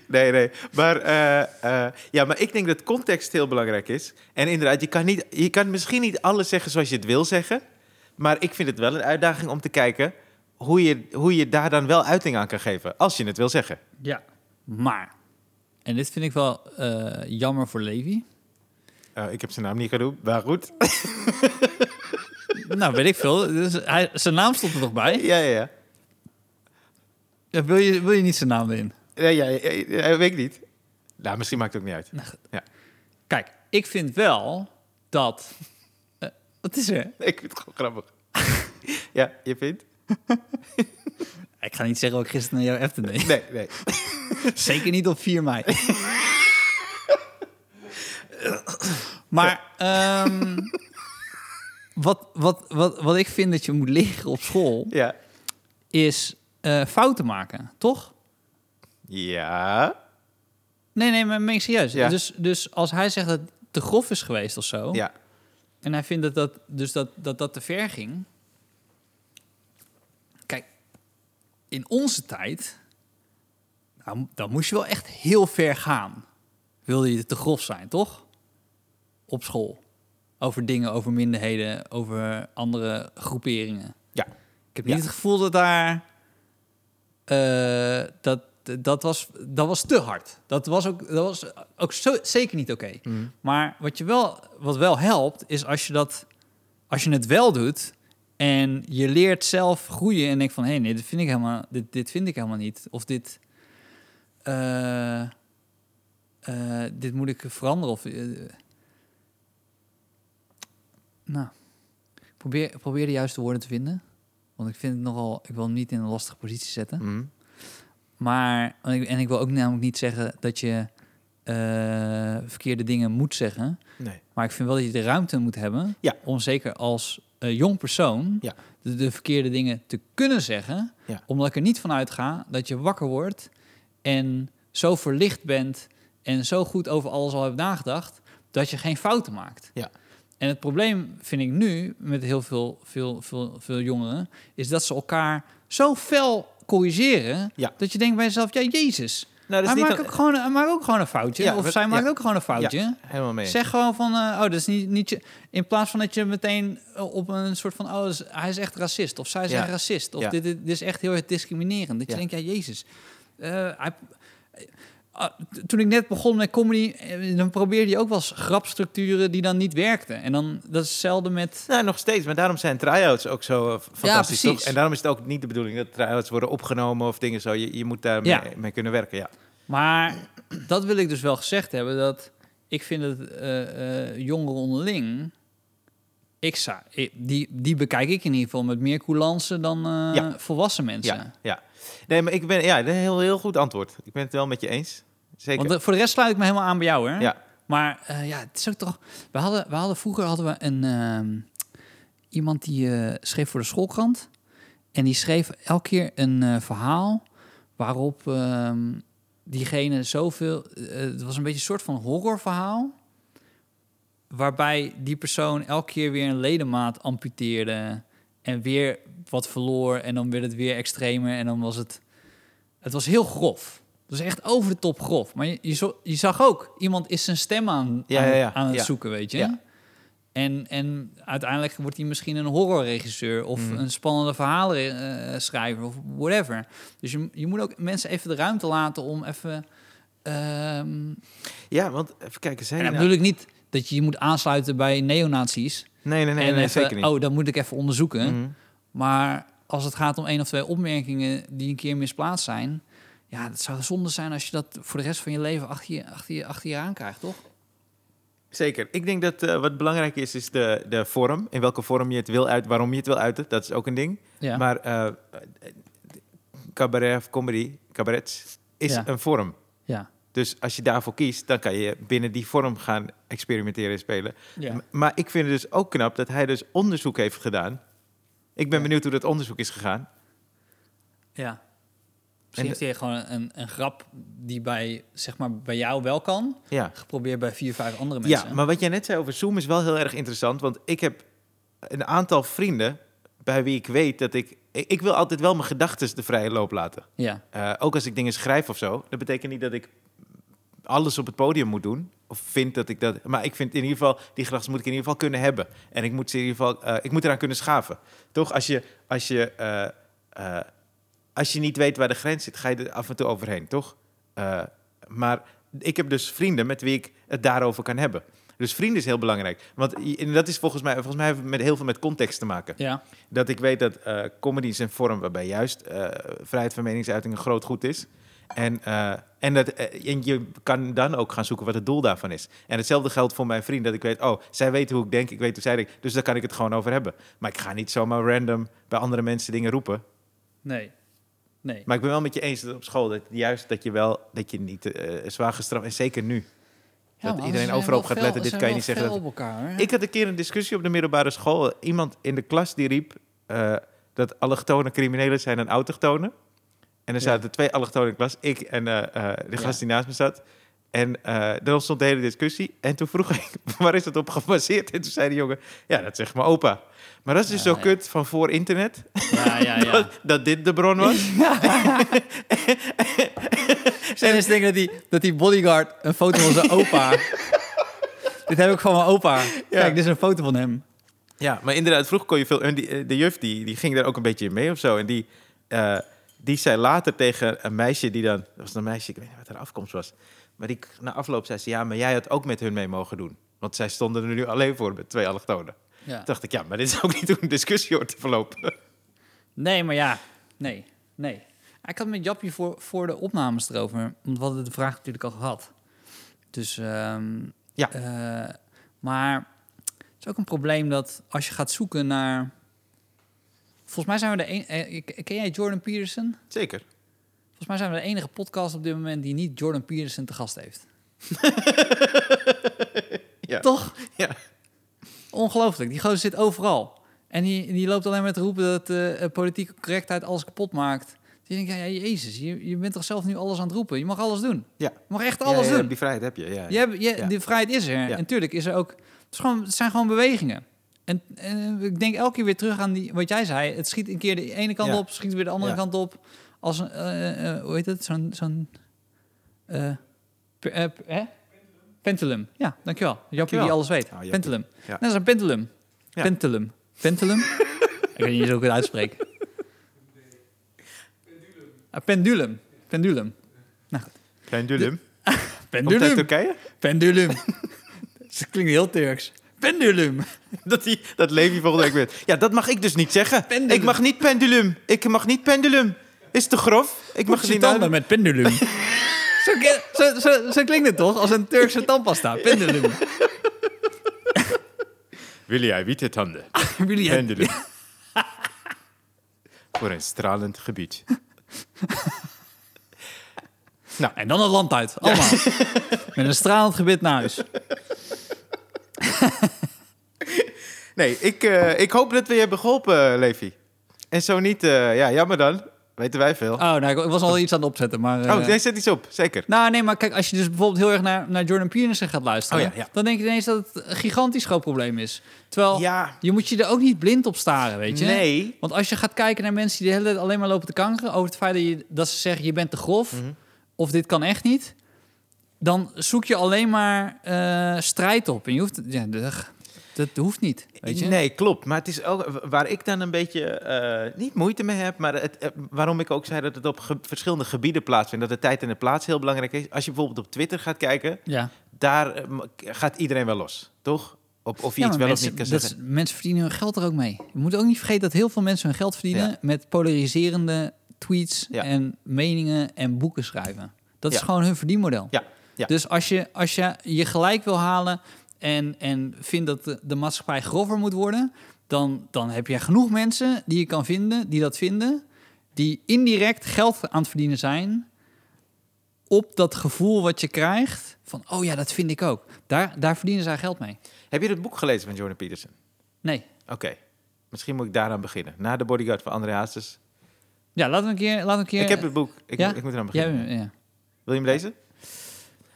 S1: Nee, nee. Maar, eh, eh, ja, maar ik denk dat context heel belangrijk is. En inderdaad, je kan, niet, je kan misschien niet alles zeggen zoals je het wil zeggen. Maar ik vind het wel een uitdaging om te kijken hoe je, hoe je daar dan wel uiting aan kan geven. Als je het wil zeggen.
S2: ja, maar... En dit vind ik wel eh, jammer voor Levi.
S1: Eh, ik heb zijn naam niet genoemd, maar goed.
S2: Nou, weet ik veel. Dus hij, zijn naam stond er nog bij.
S1: ja, ja, ja.
S2: Ja, Wil je, wil je niet zijn naam in?
S1: Nee, ja, ja, ja, ja, weet ik niet. Nou, misschien maakt het ook niet uit.
S2: Kijk, ik vind wel dat... eh, wat is er?
S1: Ik vind het gewoon grappig. ja, je vindt?
S2: Ik ga niet zeggen wat ik gisteren naar jou appte, nee.
S1: Nee, nee.
S2: Zeker niet op 4 mei. maar ehm, wat, wat, wat, wat ik vind dat je moet leren op school...
S1: Ja.
S2: is eh, fouten maken, toch?
S1: Ja.
S2: Nee, nee, maar meen ik serieus.
S1: Ja.
S2: Dus, dus als hij zegt dat het te grof is geweest of zo...
S1: Ja.
S2: En hij vindt dat dat, dus dat, dat, dat te ver ging. Kijk, in onze tijd, nou, dan moest je wel echt heel ver gaan. Wilde je te grof zijn, toch? Op school. Over dingen, over minderheden, over andere groeperingen.
S1: Ja.
S2: Ik heb niet
S1: Ja.
S2: het gevoel dat daar... eh, dat, dat, was, dat was te hard. Dat was ook, dat was ook zo, zeker niet oké. Maar wat, je wel, wat wel helpt, is als je, dat, als je het wel doet en je leert zelf groeien en denkt van hé, nee, dit vind ik helemaal, dit, dit vind ik helemaal niet. Of dit, eh, eh, dit moet ik veranderen. Of, eh, nou, ik probeer, ik probeer de juiste woorden te vinden. Want ik vind het nogal, ik wil hem niet in een lastige positie zetten.
S1: Mm.
S2: Maar, en ik- en ik wil ook namelijk niet zeggen dat je eh, verkeerde dingen moet zeggen.
S1: Nee.
S2: Maar ik vind wel dat je de ruimte moet hebben
S1: Ja.
S2: om zeker als eh, jong persoon
S1: Ja.
S2: de, de verkeerde dingen te kunnen zeggen.
S1: Ja.
S2: Omdat ik er niet van uitga dat je wakker wordt en zo verlicht bent en zo goed over alles al hebt nagedacht dat je geen fouten maakt.
S1: Ja.
S2: En het probleem vind ik nu met heel veel, veel, veel, veel jongeren is dat ze elkaar zo fel corrigeren
S1: Ja.
S2: dat je denkt bij jezelf, ja Jezus,
S1: Nou,
S2: hij maakt, ook gewoon, hij maakt ook gewoon een foutje.
S1: Ja,
S2: of
S1: wat-
S2: zij maakt
S1: ja.
S2: ook gewoon een foutje.
S1: helemaal mee.
S2: Zeg gewoon van, eh, oh, dat is niet, niet je... In plaats van dat je meteen eh, op een soort van, oh, dat is- hij is echt racist. Of zij is
S1: Ja.
S2: echt racist. Of
S1: Ja.
S2: dit, dit, dit is echt heel erg discriminerend. Dat
S1: Ja.
S2: je denkt, ja, jezus. eh, hij, ah, t- toen ik net begon met comedy, eh, dan probeerde je ook wel eens grapstructuren die dan niet werkten. En dan, dat is hetzelfde met...
S1: Nou, nog steeds. Maar daarom zijn try-outs ook zo eh, f- fantastisch,
S2: precies.
S1: toch? En daarom is het ook niet de bedoeling dat try-outs worden opgenomen of dingen zo. Je, je moet daar mee-
S2: Ja.
S1: mee, kunnen werken, ja.
S2: Maar dat wil ik dus wel gezegd hebben, dat ik vind dat eh, eh, jongeren onderling... Ik zou, ik- die, die bekijk ik in ieder geval met meer coulance dan eh,
S1: Ja.
S2: volwassen mensen.
S1: Ja, ja. Nee, maar ik ben... Ja, dat is een heel, heel goed antwoord. Ik ben het wel met je eens. Zeker.
S2: Want eh, voor de rest sluit ik me helemaal aan bij jou, hè?
S1: Ja.
S2: Maar eh, ja, het is ook toch... We hadden, we hadden vroeger hadden we een, ehm, iemand die eh, schreef voor de schoolkrant. En die schreef elke keer een eh, verhaal waarop ehm, diegene zoveel... eh, het was een beetje een soort van horrorverhaal. Waarbij die persoon elke keer weer een ledemaat amputeerde. En weer wat verloor. En dan werd het weer extremer. En dan was het... Het was heel grof. Het was echt over de top grof. Maar je, je, zo- je zag ook, iemand is zijn stem aan,
S1: Ja,
S2: aan,
S1: ja, ja,
S2: aan het
S1: ja.
S2: zoeken, weet je.
S1: Ja.
S2: En, en uiteindelijk wordt hij misschien een horrorregisseur of
S1: Mm.
S2: een spannende verhalenschrijver of whatever. Dus je, je moet ook mensen even de ruimte laten om even. ehm,
S1: Ja, want even kijken, zijn
S2: en dan
S1: nou-
S2: bedoel ik niet dat je je moet aansluiten bij neonazies.
S1: nou- Nee, nee, nee,
S2: en
S1: nee,
S2: even,
S1: zeker niet.
S2: Oh, dat moet ik even onderzoeken.
S1: Mhm.
S2: Maar als het gaat om één of twee opmerkingen die een keer misplaatst zijn... ja, dat zou zonde zijn als je dat voor de rest van je leven achter je, achter je, achter je aan krijgt, toch?
S1: Zeker. Ik denk dat eh, wat belangrijk is, is de, de vorm. In welke vorm je het wil uit, waarom je het wil uiten. Dat is ook een ding.
S2: Ja.
S1: Maar eh, cabaret of comedy, cabaret, is
S2: Ja.
S1: een vorm.
S2: ja.
S1: Dus als je daarvoor kiest, dan kan je binnen die vorm gaan experimenteren en spelen.
S2: ja.
S1: M- Maar ik vind het dus ook knap dat hij dus onderzoek heeft gedaan. Ik ben benieuwd hoe dat onderzoek is gegaan.
S2: Ja.
S1: En
S2: Misschien heeft hij gewoon een, een grap die bij, zeg maar, bij jou wel kan...
S1: Ja.
S2: geprobeerd bij vier, vijf andere mensen.
S1: ja, maar wat jij net zei over Zoom is wel heel erg interessant. Want ik heb een aantal vrienden bij wie ik weet dat ik... Ik ik wil altijd wel mijn gedachten de vrije loop laten.
S2: Ja,
S1: Eh, ook als ik dingen schrijf of zo. Dat betekent niet dat ik alles op het podium moet doen. Of vind dat ik dat. Maar ik vind in ieder geval, die gedachten moet ik in ieder geval kunnen hebben. En ik moet ze in ieder geval, eh, ik moet eraan kunnen schaven. Toch? Als je, als je, eh, eh, als je niet weet waar de grens zit, ga je er af en toe overheen, toch? Eh, maar ik heb dus vrienden met wie ik het daarover kan hebben. Dus vrienden is heel belangrijk. Want je- en dat is volgens mij, volgens mij heeft het met heel veel met context te maken.
S2: ja,
S1: Dat ik weet dat eh, comedy is een vorm waarbij juist eh, vrijheid van meningsuiting een groot goed is. En, eh, en, dat, eh, en je kan dan ook gaan zoeken wat het doel daarvan is. En hetzelfde geldt voor mijn vriend. Dat ik weet, oh, zij weten hoe ik denk, ik weet hoe zij denkt. Dus daar kan ik het gewoon over hebben. Maar ik ga niet zomaar random bij andere mensen dingen roepen.
S2: nee. Nee.
S1: Maar ik ben wel met je eens dat op school, dat juist dat je wel, dat je niet eh, zwaar gestraft, en zeker nu.
S2: Ja,
S1: dat
S2: man,
S1: iedereen
S2: ze zijn
S1: overal op
S2: wel
S1: gaat
S2: fel-
S1: letten,
S2: ze
S1: dit
S2: zijn
S1: kan je
S2: wel
S1: niet zeggen.
S2: fel op elkaar, hè?
S1: Ik had een keer een discussie op de middelbare school. Iemand in de klas die riep eh, dat allochtone criminelen zijn en autochtonen. En er
S2: Ja.
S1: zaten twee allochtonen in de klas, ik en eh, eh, de
S2: Ja.
S1: gast die naast me zat. En eh er ontstond de hele discussie. En toen vroeg ik, waar is dat op gebaseerd? En toen zei de jongen, ja, dat zegt mijn opa. Maar dat is dus
S2: Ja,
S1: zo
S2: ja.
S1: kut van voor internet,
S2: Ja, ja, ja.
S1: dat dit de bron was.
S2: Zijn eens denken dat die, dat die bodyguard een foto van zijn opa. dit heb ik van mijn opa. Kijk, dit is een foto van hem.
S1: Ja, maar inderdaad, vroeger kon je veel... en die, eh, de juf die, die ging daar ook een beetje in mee of zo. En die, eh, die zei later tegen een meisje die dan... Dat was een meisje, ik weet niet wat haar afkomst was. Maar die na afloop zei ze... Ja, maar jij had ook met hun mee mogen doen. Want zij stonden er nu alleen voor met twee allochtonen.
S2: Ja.
S1: Toen dacht ik, ja, maar dit is ook niet hoe een discussie hoort te verlopen.
S2: Nee, maar ja. Nee, nee. Ik had met Japje voor, voor de opnames erover. Want we hadden de vraag natuurlijk al gehad. Dus, ehm,
S1: Ja.
S2: eh, maar het is ook een probleem dat als je gaat zoeken naar... Volgens mij zijn we de een... eh, ken jij Jordan Peterson?
S1: Zeker.
S2: Volgens mij zijn we de enige podcast op dit moment die niet Jordan Peterson te gast heeft.
S1: Ja.
S2: Toch?
S1: Ja.
S2: Ongelooflijk. Die gozer zit overal. En die, die loopt alleen maar te roepen dat eh, politieke correctheid alles kapot maakt. Dus je denkt, ja, ja, jezus, je, je bent toch zelf nu alles aan het roepen? Je mag alles doen.
S1: Ja.
S2: Je mag echt alles
S1: Ja, ja,
S2: doen.
S1: Die vrijheid heb je, ja.
S2: Je hebt, je,
S1: Ja.
S2: De vrijheid is er.
S1: Ja.
S2: En tuurlijk is er ook... Het, is gewoon, het zijn gewoon bewegingen. En, en ik denk elke keer weer terug aan die, wat jij zei. Het schiet een keer de ene kant
S1: Ja.
S2: op, schiet weer de andere
S1: Ja.
S2: kant op. Als een, eh, eh, hoe heet het? Zo'n... zo'n eh, pe- eh, pe- hè? Pendulum. Ja, dankjewel. Jappie die
S1: Dankjewel.
S2: alles weet.
S1: Oh, Jappie.
S2: pendulum.
S1: Ja.
S2: Net als een pendulum.
S1: Ja.
S2: Pendulum. Pendulum? ik weet niet eens hoe ik het uitspreek. Ah, pendulum. Pendulum.
S1: Klein Dulum. Komt uit
S2: Pendulum.
S1: Turkije?
S2: Pendulum. Dat klinkt heel Turks. Pendulum.
S1: Dat, die, dat Levi volgende week weer... Ja, dat mag ik dus niet zeggen.
S2: Pendulum.
S1: Ik mag niet pendulum. Ik mag niet pendulum. Is te grof. Ik mag
S2: Mag
S1: het
S2: je
S1: niet
S2: tanden
S1: aan.
S2: met pendulum. zo, ken- zo, zo, zo klinkt het toch? Als een Turkse tandpasta. Pendulum.
S1: Wil jij witte tanden?
S2: Jullie hebben-
S1: Pendulum. Voor een stralend gebied. Nou.
S2: En dan het land uit. Allemaal. Met een stralend gebit naar huis.
S1: Nee, ik, eh, ik hoop dat we je hebben geholpen, eh, Levi. En zo niet, eh, ja, jammer dan. Weten wij veel.
S2: Oh, nou, ik was al iets aan het opzetten, maar... eh,
S1: oh, nee, zet iets op, zeker.
S2: Nou, nee, maar kijk, als je dus bijvoorbeeld heel erg naar, naar Jordan Peterson gaat luisteren...
S1: Oh ja, ja.
S2: dan denk je ineens dat het een gigantisch groot probleem is. Terwijl,
S1: Ja.
S2: je moet je er ook niet blind op staren, weet je?
S1: Nee.
S2: Want als je gaat kijken naar mensen die de hele tijd alleen maar lopen te kankeren... over het feit dat, je, dat ze zeggen, je bent te grof...
S1: Mhm.
S2: of dit kan echt niet... dan zoek je alleen maar eh, strijd op. En je hoeft... Ja, dat, dat hoeft niet, weet je?
S1: Nee, klopt. Maar het is ook waar ik dan een beetje eh, niet moeite mee heb. Maar het, eh, waarom ik ook zei dat het op ge- verschillende gebieden plaatsvindt. Dat de tijd en de plaats heel belangrijk is. Als je bijvoorbeeld op Twitter gaat kijken,
S2: Ja.
S1: daar eh, m- gaat iedereen wel los, toch? Op, of je
S2: Ja,
S1: iets
S2: maar
S1: wel
S2: mensen,
S1: of niet kan
S2: dat
S1: zeggen.
S2: is- mensen verdienen hun geld er ook mee. Je moet ook niet vergeten dat heel veel mensen hun geld verdienen
S1: Ja.
S2: met polariserende tweets
S1: Ja.
S2: en meningen en boeken schrijven. Dat is
S1: Ja.
S2: gewoon hun verdienmodel.
S1: Ja, ja.
S2: Dus als je, als je je gelijk wil halen en, en vindt dat de, de maatschappij grover moet worden, dan, dan heb je genoeg mensen die je kan vinden, die dat vinden, die indirect geld aan het verdienen zijn op dat gevoel wat je krijgt van, oh ja, dat vind ik ook. Daar, daar verdienen zij geld mee.
S1: Heb je dat boek gelezen van Jordan Peterson?
S2: Nee.
S1: Oké, misschien moet ik daaraan beginnen. Na de bodyguard van André Hazes.
S2: Ja, laten we een keer... Laten we een keer
S1: Ik heb het boek. Ik,
S2: ja?
S1: moet- ik moet eraan
S2: Jij-
S1: beginnen.
S2: ja.
S1: Wil je hem lezen?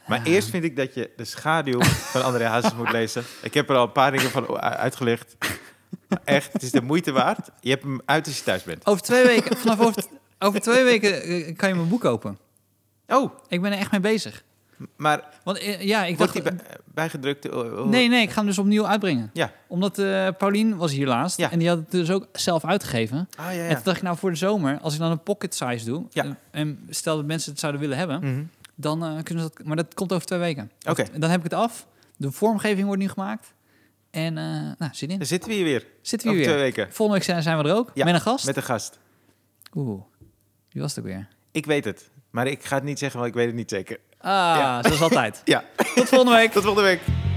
S1: Maar eerst vind ik dat je de schaduw van André Hazes moet lezen. Ik heb er al een paar dingen van u- uitgelegd. Maar Echt, het is de moeite waard. Je hebt hem uit als je thuis bent.
S2: Over twee weken, vanaf over, over twee weken eh, kan je mijn boek kopen.
S1: Oh,
S2: Ik ben er echt mee bezig.
S1: maar
S2: Want eh, ja, ik
S1: wordt
S2: dacht...
S1: hij bij- bijgedrukt? Oh, oh.
S2: Nee, nee, ik ga hem dus opnieuw uitbrengen.
S1: Ja.
S2: Omdat eh Paulien was hier laatst
S1: Ja.
S2: en die had het dus ook zelf uitgegeven.
S1: Ah, ja,
S2: En
S1: ja.
S2: toen dacht ik, nou voor de zomer, als ik dan een pocket size doe...
S1: Ja.
S2: En, en stel dat mensen het zouden willen hebben,
S1: Mhm.
S2: dan eh, kunnen ze dat... Maar dat komt over twee weken.
S1: Oké,
S2: En dan heb ik het af. De vormgeving wordt nu gemaakt. En eh nou, zit in.
S1: dan zitten we hier weer.
S2: Zitten we
S1: Dus Over
S2: hier
S1: twee weken.
S2: weer. Volgende week zijn- zijn we er ook.
S1: Ja,
S2: Met een gast.
S1: Met een gast.
S2: Oeh, wie was het ook weer?
S1: Ik weet het. Maar ik ga het niet zeggen, want ik weet het niet zeker.
S2: Ah, zoals altijd.
S1: Ja,
S2: Tot volgende week.
S1: tot volgende week.